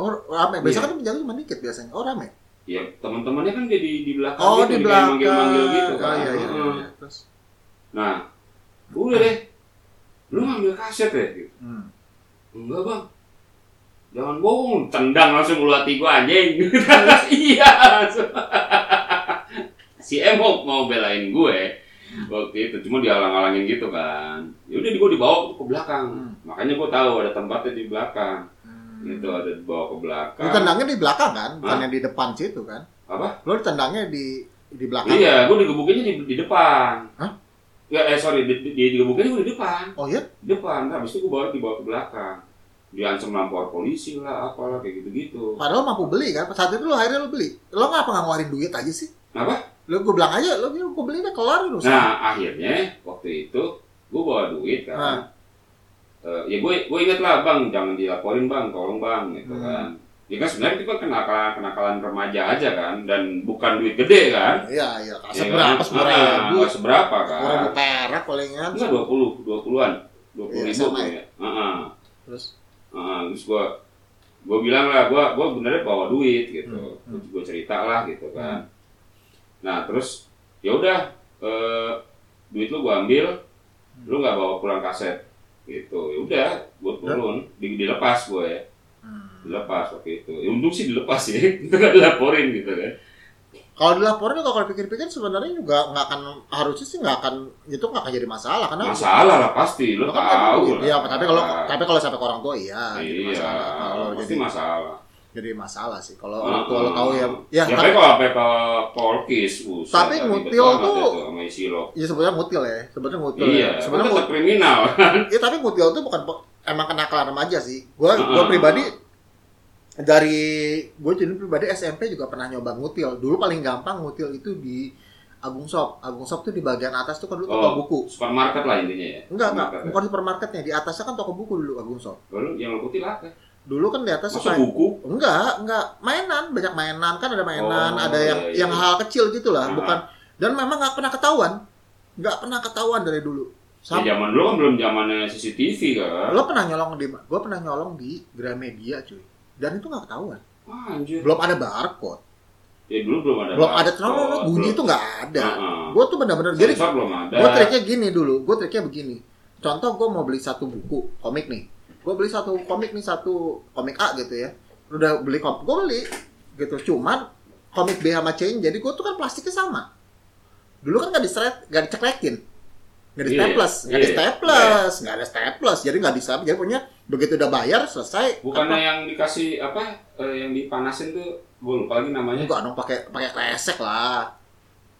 Speaker 2: Oh, rame.
Speaker 1: Iya.
Speaker 2: Biasanya kan penjaga cuma dikit biasanya. Oh, rame.
Speaker 1: ya teman-temannya kan jadi di belakang
Speaker 2: Oh,
Speaker 1: gitu,
Speaker 2: di
Speaker 1: kayak
Speaker 2: belakang.
Speaker 1: manggil-manggil gitu kan
Speaker 2: Oh, iya, iya, iya,
Speaker 1: Heeh.
Speaker 2: iya. Terus.
Speaker 1: nah udah deh lu ngambil kaset ya gitu.
Speaker 2: Hmm.
Speaker 1: enggak bang jangan bohong tendang langsung bulu hati gua anjing iya langsung. si M mau, mau belain gue waktu itu cuma dihalang-halangin gitu kan yaudah gue dibawa ke belakang
Speaker 2: Hmm.
Speaker 1: makanya gue tahu ada tempatnya di belakang
Speaker 2: Hmm.
Speaker 1: gitu ada dibawa ke belakang
Speaker 2: Lu tendangnya di belakang kan, bukan yang di depan situ kan?
Speaker 1: apa
Speaker 2: Lu tendangnya di di belakang.
Speaker 1: iya gue digebukinnya di, di depan
Speaker 2: Hah?
Speaker 1: Ya, eh sorry, di, di, digebukinnya gue di depan
Speaker 2: Oh iya,
Speaker 1: Di depan, habis itu gue baru dibawa ke belakang diancam lapor polisi lah, apalah, kayak gitu-gitu
Speaker 2: padahal mampu beli kan. Saat itu lu akhirnya lu beli. Lu ngapa nggak ngeluarin duit aja sih?
Speaker 1: Apa?
Speaker 2: Lu gue bilang aja, lu bilang gue beli deh kelar lu.
Speaker 1: Nah akhirnya waktu itu gue bawa duit
Speaker 2: Hah.
Speaker 1: kan. Eh, ya gue gue inget lah bang jangan dilaporin bang tolong bang gitu
Speaker 2: Hmm.
Speaker 1: kan. Ya kan sebenarnya itu kan kenakalan kenakalan remaja aja kan dan bukan duit gede kan.
Speaker 2: Iya, iya.
Speaker 1: Ya
Speaker 2: Kaset berapa?
Speaker 1: kan?
Speaker 2: Sepuluh
Speaker 1: Ah,
Speaker 2: ribu.
Speaker 1: nggak seberapa
Speaker 2: Sepuluh ribu
Speaker 1: kan.
Speaker 2: perak palingan.
Speaker 1: Enggak dua puluh dua puluhan dua puluh
Speaker 2: Iya,
Speaker 1: ribu
Speaker 2: sama
Speaker 1: ya. Heeh.
Speaker 2: Terus
Speaker 1: Heeh, terus gue gue bilang lah gue gue benernya bawa duit gitu
Speaker 2: Hmm, hmm.
Speaker 1: gue cerita lah gitu kan nah terus ya udah eh, duit lu gue ambil lu nggak bawa pulang kaset gitu ya udah gue turun di, dilepas gue ya
Speaker 2: Hmm.
Speaker 1: dilepas waktu itu ya, untung sih dilepas ya kita nggak dilaporin gitu kan
Speaker 2: Kalau dilaporin kalau pikir-pikir sebenarnya juga nggak akan harusnya sih nggak akan itu nggak akan jadi masalah karena
Speaker 1: masalah lah pasti lu
Speaker 2: Lo kan nggak
Speaker 1: tahu
Speaker 2: duit.
Speaker 1: lah Nah,
Speaker 2: Iya, tapi kalau tapi kalau sampai ke orang tua iya, jadi
Speaker 1: iya
Speaker 2: masalah. Kalau
Speaker 1: pasti
Speaker 2: jadi
Speaker 1: masalah
Speaker 2: jadi masalah sih. Kalau orang tua lo tahu ya, ya,
Speaker 1: ya,
Speaker 2: tapi,
Speaker 1: tapi kalau sampai ke polkis buset,
Speaker 2: Tapi
Speaker 1: ribet
Speaker 2: ngutil
Speaker 1: banget
Speaker 2: tuh-
Speaker 1: itu sama isi lo
Speaker 2: ya sebenarnya ngutil ya, sebenarnya ngutil.
Speaker 1: iya kan?
Speaker 2: ya.
Speaker 1: sebenarnya
Speaker 2: sebenarnya ngutil.
Speaker 1: tetap kriminal
Speaker 2: Iya, tapi ngutil itu bukan pe- emang kenakalan remaja sih. Gua gua
Speaker 1: Heeh.
Speaker 2: pribadi dari gue jadi pribadi SMP juga pernah nyoba ngutil. Dulu paling gampang ngutil itu di Agung Shop. Agung Shop tuh di bagian atas tuh kan dulu toko
Speaker 1: Oh.
Speaker 2: buku.
Speaker 1: supermarket lah intinya ya
Speaker 2: Enggak, enggak.
Speaker 1: Supermarket ya.
Speaker 2: Bukan supermarketnya. Di atasnya kan toko buku dulu Agung Shop.
Speaker 1: Lalu yang lo putih apa?
Speaker 2: Dulu kan di atas tuh
Speaker 1: Masa
Speaker 2: kayak-
Speaker 1: buku? Ya,
Speaker 2: Enggak, enggak. Mainan, banyak mainan. Kan ada mainan,
Speaker 1: Oh,
Speaker 2: ada yang
Speaker 1: iya, iya.
Speaker 2: yang hal kecil gitu lah.
Speaker 1: Aha.
Speaker 2: Bukan. Dan memang nggak pernah ketahuan. Nggak pernah ketahuan dari dulu.
Speaker 1: Ya,
Speaker 2: Sampai,
Speaker 1: zaman dulu kan belum zamannya CCTV kan?
Speaker 2: Lo pernah nyolong di... Gue pernah nyolong di Gramedia, cuy. Dan itu nggak ketahuan.
Speaker 1: Wah, anjir.
Speaker 2: Belum ada barcode.
Speaker 1: Ya dulu belum ada.
Speaker 2: Belum ada
Speaker 1: barcode,
Speaker 2: terlalu bunyi itu nggak ada.
Speaker 1: Heeh.
Speaker 2: Gue tuh bener-bener... Jadi
Speaker 1: Sensor belum ada.
Speaker 2: Gue triknya gini dulu, gue triknya begini. Contoh gue mau beli satu buku komik nih. Gue beli satu komik nih, satu komik A gitu ya. Udah beli komik, gue beli gitu. Cuman komik B sama C jadi gue tuh kan plastiknya sama. Dulu kan gak diseret, gak diceklekin. Gak
Speaker 1: Iya,
Speaker 2: di staples,
Speaker 1: iya.
Speaker 2: gak di
Speaker 1: Iya.
Speaker 2: staples, gak ada staples. Jadi gak di staples, jadi punya begitu udah bayar selesai.
Speaker 1: Bukannya
Speaker 2: apa-
Speaker 1: yang dikasih apa? eh, yang dipanasin tuh, gue lupa lagi namanya.
Speaker 2: Enggak dong pakai pakai kresek lah.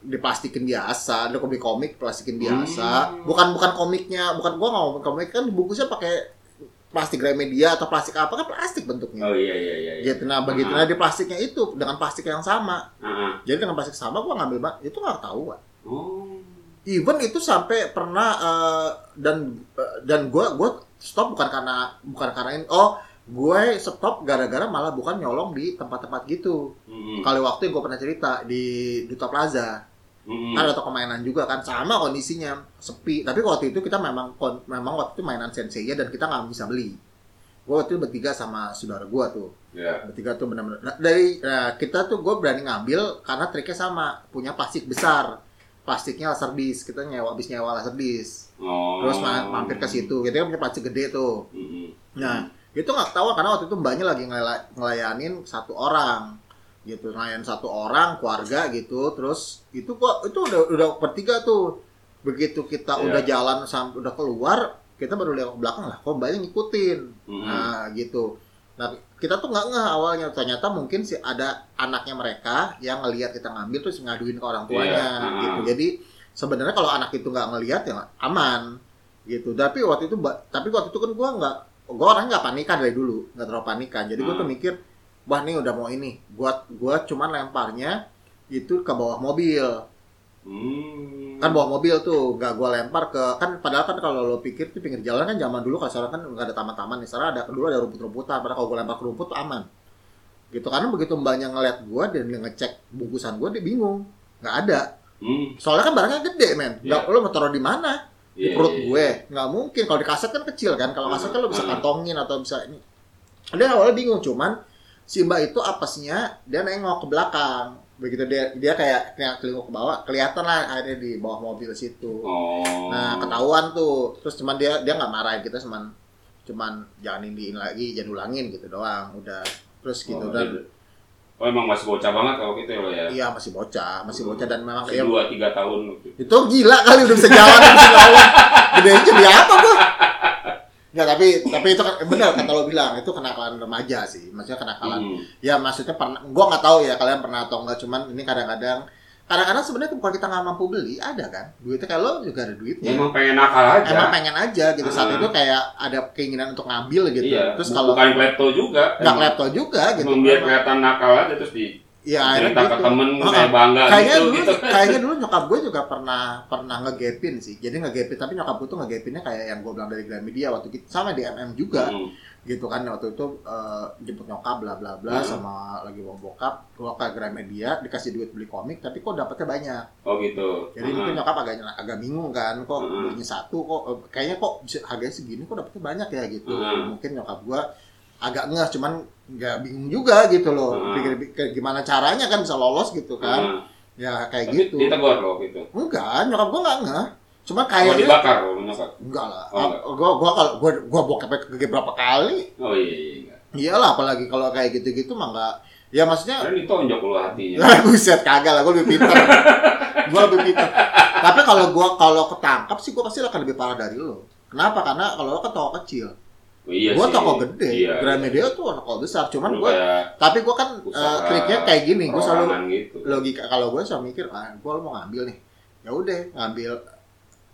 Speaker 2: Diplastikin biasa, ada komik komik plastikin biasa.
Speaker 1: Hmm.
Speaker 2: Bukan bukan komiknya, bukan gua nggak ngomong komik kan bungkusnya pakai plastik Gramedia atau plastik apa kan plastik bentuknya.
Speaker 1: Oh iya iya iya. iya.
Speaker 2: Gitu nah begitu nah di plastiknya itu dengan plastik yang sama.
Speaker 1: Heeh.
Speaker 2: Jadi dengan plastik sama gua ngambil bak itu nggak ketahuan.
Speaker 1: Oh.
Speaker 2: Even itu sampai pernah eh, dan eh, dan gua gua stop bukan karena bukan karena ini. Oh, gue stop gara-gara malah bukan nyolong di tempat-tempat gitu
Speaker 1: Mm-mm.
Speaker 2: kali waktu yang gue pernah cerita di Duta Plaza
Speaker 1: Mm-mm.
Speaker 2: kan ada toko mainan juga kan sama kondisinya sepi tapi waktu itu kita memang kon- memang waktu itu mainan sensei dan kita nggak bisa beli gue waktu itu bertiga sama saudara gue tuh
Speaker 1: Ya.
Speaker 2: bertiga tuh benar-benar nah, dari nah, kita tuh gue berani ngambil karena triknya sama punya plastik besar plastiknya laser disc kita nyewa habis nyewa laser disc
Speaker 1: Oh.
Speaker 2: terus ma- mampir ke situ kita kan punya plastik gede tuh
Speaker 1: Mm-mm.
Speaker 2: Nah, itu nggak ketawa karena waktu itu mbaknya lagi ngela- ngelayanin satu orang. gitu nelayan satu orang keluarga gitu terus itu gua itu udah udah bertiga tuh begitu
Speaker 1: Iya.
Speaker 2: kita udah jalan sampai udah keluar kita baru lihat ke belakang lah kok banyak ngikutin
Speaker 1: Mhm.
Speaker 2: nah gitu nah kita tuh nggak ngeh awalnya ternyata mungkin sih ada anaknya mereka yang ngelihat kita ngambil terus ngaduin ke orang tuanya
Speaker 1: Iya, ah.
Speaker 2: gitu jadi sebenarnya kalau anak itu nggak ngelihat ya aman gitu tapi waktu itu ba- tapi waktu itu kan gua nggak gua orang nggak panikan dari dulu nggak terlalu panikan jadi
Speaker 1: Ah.
Speaker 2: gua tuh mikir wah nih udah mau ini gua gua cuman lemparnya itu ke bawah mobil
Speaker 1: Hmm.
Speaker 2: kan bawa mobil tuh gak gua lempar ke kan padahal kan kalau lo pikir tuh pinggir jalan kan zaman dulu kalau sekarang kan nggak ada taman-taman nih sekarang ada dulu ada rumput-rumputan padahal kalau gua lempar ke rumput tuh aman gitu karena begitu mbaknya ngeliat gua dan dia ngecek bungkusan gua dia bingung nggak ada
Speaker 1: Hmm.
Speaker 2: soalnya kan barangnya gede men nggak
Speaker 1: Iya.
Speaker 2: lo mau taruh di mana di
Speaker 1: Iya,
Speaker 2: perut
Speaker 1: iya, Ah.
Speaker 2: gue nggak mungkin kalau di kaset kan kecil kan kalau kaset kan lo bisa kantongin atau bisa ini dia awalnya bingung cuman si mbak itu apesnya dia nengok ke belakang begitu dia dia kayak kayak kelingkuh ke bawah kelihatan lah akhirnya di bawah mobil situ
Speaker 1: Oh.
Speaker 2: nah ketahuan tuh terus cuman dia dia nggak marahin kita cuman cuman jangan indiin lagi jangan ulangin gitu doang udah terus
Speaker 1: Oh,
Speaker 2: gitu dan
Speaker 1: Oh emang masih bocah banget kalau gitu ya lo ya.
Speaker 2: iya masih bocah masih bocah dan memang
Speaker 1: Hmm. Masih
Speaker 2: ya,
Speaker 1: dua tiga tahun waktu itu.
Speaker 2: itu gila kali udah bisa jalan udah bisa ngelawan gede jadi apa gua Nggak, tapi tapi itu kan benar kata lo bilang itu kenakalan remaja sih maksudnya kenakalan
Speaker 1: Hmm.
Speaker 2: ya maksudnya pernah gua nggak tahu ya kalian pernah atau enggak cuman ini kadang-kadang kadang-kadang sebenarnya kalau kita nggak mampu beli ada kan duitnya kalau lo juga ada duitnya
Speaker 1: Ya, Emang pengen nakal aja.
Speaker 2: Iya. emang pengen aja gitu saat
Speaker 1: Ah.
Speaker 2: itu kayak ada keinginan untuk ngambil gitu
Speaker 1: Iya.
Speaker 2: terus
Speaker 1: bu-
Speaker 2: kalau
Speaker 1: bukan klepto juga.
Speaker 2: nggak
Speaker 1: Emang-
Speaker 2: klepto juga gitu
Speaker 1: Emang biar kelihatan nakal aja terus di
Speaker 2: ya akhirnya
Speaker 1: cerita ke
Speaker 2: gitu.
Speaker 1: temen
Speaker 2: Ah,
Speaker 1: saya bangga
Speaker 2: kayaknya
Speaker 1: gitu
Speaker 2: dulu
Speaker 1: gitu.
Speaker 2: kayaknya dulu nyokap gue juga pernah pernah ngegapin sih jadi ngegapin tapi nyokap gue tuh ngegapinnya kayak yang gue bilang dari Gramedia waktu kita sama di MM juga
Speaker 1: Hmm.
Speaker 2: gitu kan waktu itu eh, jemput nyokap bla bla bla
Speaker 1: Hmm.
Speaker 2: sama lagi bawa bokap gue ke Gramedia dikasih duit beli komik tapi kok dapetnya banyak
Speaker 1: Oh gitu.
Speaker 2: jadi
Speaker 1: Hmm.
Speaker 2: mungkin nyokap agak agak bingung kan kok
Speaker 1: Hmm.
Speaker 2: belinya satu kok eh, kayaknya kok bisa harganya segini kok dapetnya banyak ya gitu
Speaker 1: Hmm.
Speaker 2: mungkin nyokap gue agak ngeh cuman nggak bingung juga gitu loh
Speaker 1: Hmm.
Speaker 2: pikir, pikir gimana caranya kan bisa lolos gitu
Speaker 1: Hmm.
Speaker 2: kan ya kayak
Speaker 1: Tapi
Speaker 2: gitu
Speaker 1: Ditegor lo gitu.
Speaker 2: enggak nyokap gue nggak ngeh cuma
Speaker 1: Kalau
Speaker 2: kayaknya
Speaker 1: dibakar lo nyokap.
Speaker 2: enggak lah
Speaker 1: Oh, enggak.
Speaker 2: gue gue kalau gue gue bokapnya kege berapa kali
Speaker 1: Oh iya iya. iya.
Speaker 2: iyalah apalagi kalau kayak gitu gitu mah enggak ya maksudnya
Speaker 1: Karena ditonjok lo hatinya.
Speaker 2: lah buset kagak lah gue lebih pintar gue lebih pintar tapi kalau gue kalau ketangkap sih gue pasti akan lebih parah dari lo kenapa karena kalau lo kan toko kecil
Speaker 1: Oh, iya
Speaker 2: gue
Speaker 1: sih.
Speaker 2: toko gede
Speaker 1: Iya.
Speaker 2: Gramedia tuh toko besar cuman
Speaker 1: Lu
Speaker 2: gue
Speaker 1: kayak
Speaker 2: tapi gue kan eh,
Speaker 1: usaha
Speaker 2: triknya kayak gini gue selalu
Speaker 1: perorangan gitu.
Speaker 2: logika kalau gue selalu mikir ah gue mau ngambil nih ya udah ngambil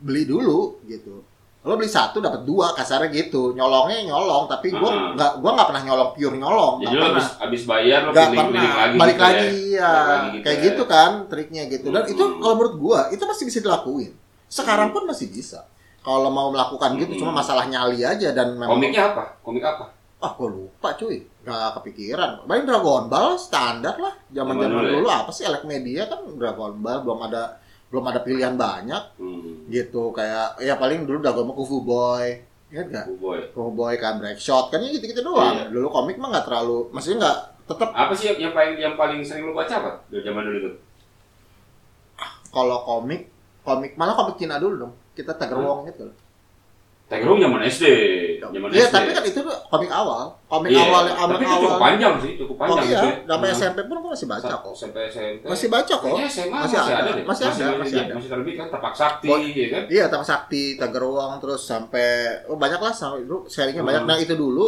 Speaker 2: beli dulu gitu lo beli satu dapat dua kasarnya gitu nyolongnya nyolong tapi gue
Speaker 1: Hmm.
Speaker 2: nggak gua nggak pernah nyolong pure nyolong nggak
Speaker 1: Jadi lo
Speaker 2: pernah
Speaker 1: abis, abis bayar lo
Speaker 2: nggak
Speaker 1: keliling
Speaker 2: pernah
Speaker 1: keliling lagi.
Speaker 2: balik
Speaker 1: gitu ya.
Speaker 2: lagi ya
Speaker 1: Balik lagi gitu
Speaker 2: kayak
Speaker 1: ya.
Speaker 2: gitu kan triknya gitu dan itu
Speaker 1: Hmm.
Speaker 2: kalau menurut gue itu masih bisa dilakuin sekarang pun masih bisa kalau mau melakukan
Speaker 1: Hmm.
Speaker 2: gitu cuma masalah nyali aja dan memang
Speaker 1: Komiknya apa? Komik apa?
Speaker 2: ah gue lupa cuy nggak kepikiran main Dragon Ball standar lah zaman
Speaker 1: Zaman dulu
Speaker 2: zaman
Speaker 1: ya?
Speaker 2: dulu apa sih elek media kan Dragon Ball belum ada belum ada pilihan banyak
Speaker 1: Hmm.
Speaker 2: gitu kayak ya paling dulu Dragon Ball Kufu Boy ya nggak
Speaker 1: Oh boy.
Speaker 2: Kufu Boy kan Break Shot kan gitu gitu doang
Speaker 1: Iya.
Speaker 2: dulu komik mah nggak terlalu maksudnya nggak tetap
Speaker 1: Apa sih yang, yang paling yang paling sering lo baca apa? Dari zaman dulu itu.
Speaker 2: kalau komik komik malah komik Cina dulu dong kita Tiger
Speaker 1: Hmm.
Speaker 2: Wong gitu
Speaker 1: Tagerung zaman SD. Zaman SD. ya?
Speaker 2: iya tapi kan itu tuh komik awal komik
Speaker 1: Iya,
Speaker 2: awal
Speaker 1: Tapi
Speaker 2: komik
Speaker 1: itu cukup
Speaker 2: awal
Speaker 1: panjang sih, cukup
Speaker 2: oh
Speaker 1: panjang
Speaker 2: iya
Speaker 1: gitu.
Speaker 2: sampai
Speaker 1: Hmm.
Speaker 2: SMP pun gue masih baca kok
Speaker 1: Sampai SMP.
Speaker 2: masih baca kok
Speaker 1: Kayaknya SMA
Speaker 2: Masih
Speaker 1: masih,
Speaker 2: ada,
Speaker 1: ada, deh.
Speaker 2: masih ada, masih ada.
Speaker 1: Masih terbit kan tapak sakti
Speaker 2: Oh,
Speaker 1: ya kan.
Speaker 2: Iya, Tang Sakti, Tagerwong, terus sampai oh banyak lah sampai dulu sharingnya banyak.
Speaker 1: Hmm.
Speaker 2: Nah itu dulu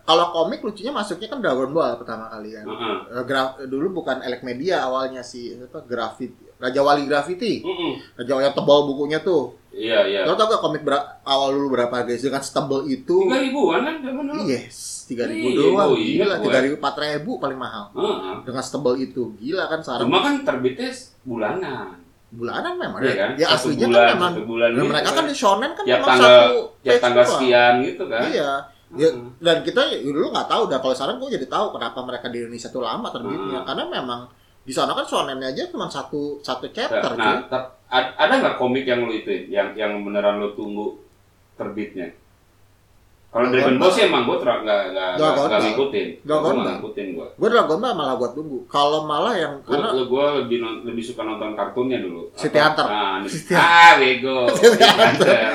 Speaker 2: kalau komik lucunya masuknya kan Dragon Ball pertama kali kan.
Speaker 1: Heeh.
Speaker 2: Eh, gra- dulu bukan Elek Media awalnya si apa Graffiti Raja Wali Graffiti.
Speaker 1: Mm-mm.
Speaker 2: Raja Wali yang tebal bukunya tuh.
Speaker 1: Iya, iya.
Speaker 2: Lo tau gak komik ber- awal dulu berapa guys dengan setebal itu?
Speaker 1: Tiga ribuan kan zaman dulu.
Speaker 2: Yes, 3000
Speaker 1: Iya,
Speaker 2: doang.
Speaker 1: gua ingat
Speaker 2: Gila,
Speaker 1: gua.
Speaker 2: 3000 4000 paling mahal.
Speaker 1: Heeh.
Speaker 2: Dengan setebal itu. Gila kan sekarang
Speaker 1: Cuma kan terbitnya bulanan.
Speaker 2: bulanan memang.
Speaker 1: Iya kan?
Speaker 2: Ya
Speaker 1: Satu
Speaker 2: aslinya
Speaker 1: bulan,
Speaker 2: kan memang.
Speaker 1: satu bulan
Speaker 2: Nah,
Speaker 1: gitu
Speaker 2: mereka kan
Speaker 1: kan.
Speaker 2: di shonen kan
Speaker 1: Tiap
Speaker 2: memang
Speaker 1: tanggal-
Speaker 2: satu
Speaker 1: tiap
Speaker 2: page
Speaker 1: Ya, tanggal
Speaker 2: doang.
Speaker 1: sekian gitu kan.
Speaker 2: Iya. Ya,
Speaker 1: Heeh.
Speaker 2: dan kita ya, dulu nggak tahu dah kalau sekarang gue jadi tahu kenapa mereka di Indonesia tuh lama
Speaker 1: Hmm.
Speaker 2: terbitnya karena memang di sana kan shonennya aja cuma satu satu chapter cuy.
Speaker 1: Nah, tap- ad- ada nggak komik yang lu itu yang yang beneran lu tunggu terbitnya? Kalau Dragon
Speaker 2: Dragon
Speaker 1: Ball
Speaker 2: Ball.
Speaker 1: sih emang gue nggak nggak
Speaker 2: Dragon
Speaker 1: nggak
Speaker 2: Ball.
Speaker 1: ngikutin,
Speaker 2: Dragon
Speaker 1: gue
Speaker 2: Ball.
Speaker 1: nggak ngikutin gue.
Speaker 2: Gue Dragon Ball malah buat tunggu. Kalau malah yang
Speaker 1: Gue
Speaker 2: karena
Speaker 1: gue lebih non- lebih suka nonton kartunnya dulu.
Speaker 2: City Hunter.
Speaker 1: Ah,
Speaker 2: City
Speaker 1: ah bego.
Speaker 2: City
Speaker 1: City Hunter.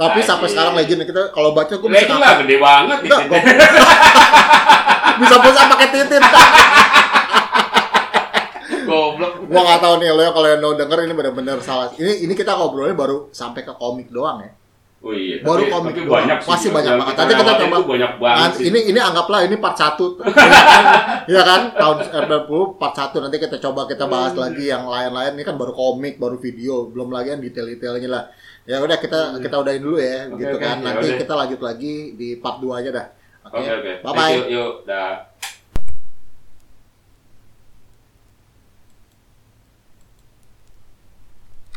Speaker 2: tapi sampai
Speaker 1: Anjing. Nah, iya.
Speaker 2: sekarang legend kita kalau baca gue
Speaker 1: Legend lah gede banget di
Speaker 2: Enggak,
Speaker 1: sini.
Speaker 2: gua- bisa pulsa pakai titit
Speaker 1: Goblok.
Speaker 2: gua nggak tahu nih lo ya kalau yang no denger ini bener-bener salah ini ini kita ngobrolnya baru sampai ke komik doang ya
Speaker 1: Oh iya.
Speaker 2: Baru
Speaker 1: tapi,
Speaker 2: komik
Speaker 1: tapi
Speaker 2: doang.
Speaker 1: banyak sih.
Speaker 2: Pasti banyak
Speaker 1: Yang
Speaker 2: banget. Nanti kita
Speaker 1: lewatin
Speaker 2: coba-
Speaker 1: itu banyak banget
Speaker 2: Nah,
Speaker 1: sih.
Speaker 2: ini ini anggaplah ini part 1 ya kan tahun 90 part 1 nanti kita coba kita bahas
Speaker 1: Hmm.
Speaker 2: lagi yang lain-lain ini kan baru komik baru video belum lagi yang detail-detailnya lah ya udah kita kita udahin dulu ya
Speaker 1: Hmm. Oke,
Speaker 2: gitu
Speaker 1: oke,
Speaker 2: kan
Speaker 1: ya
Speaker 2: nanti
Speaker 1: udah.
Speaker 2: kita lanjut lagi di part 2 aja dah oke
Speaker 1: Oke oke.
Speaker 2: bye bye
Speaker 1: Yuk yuk dah.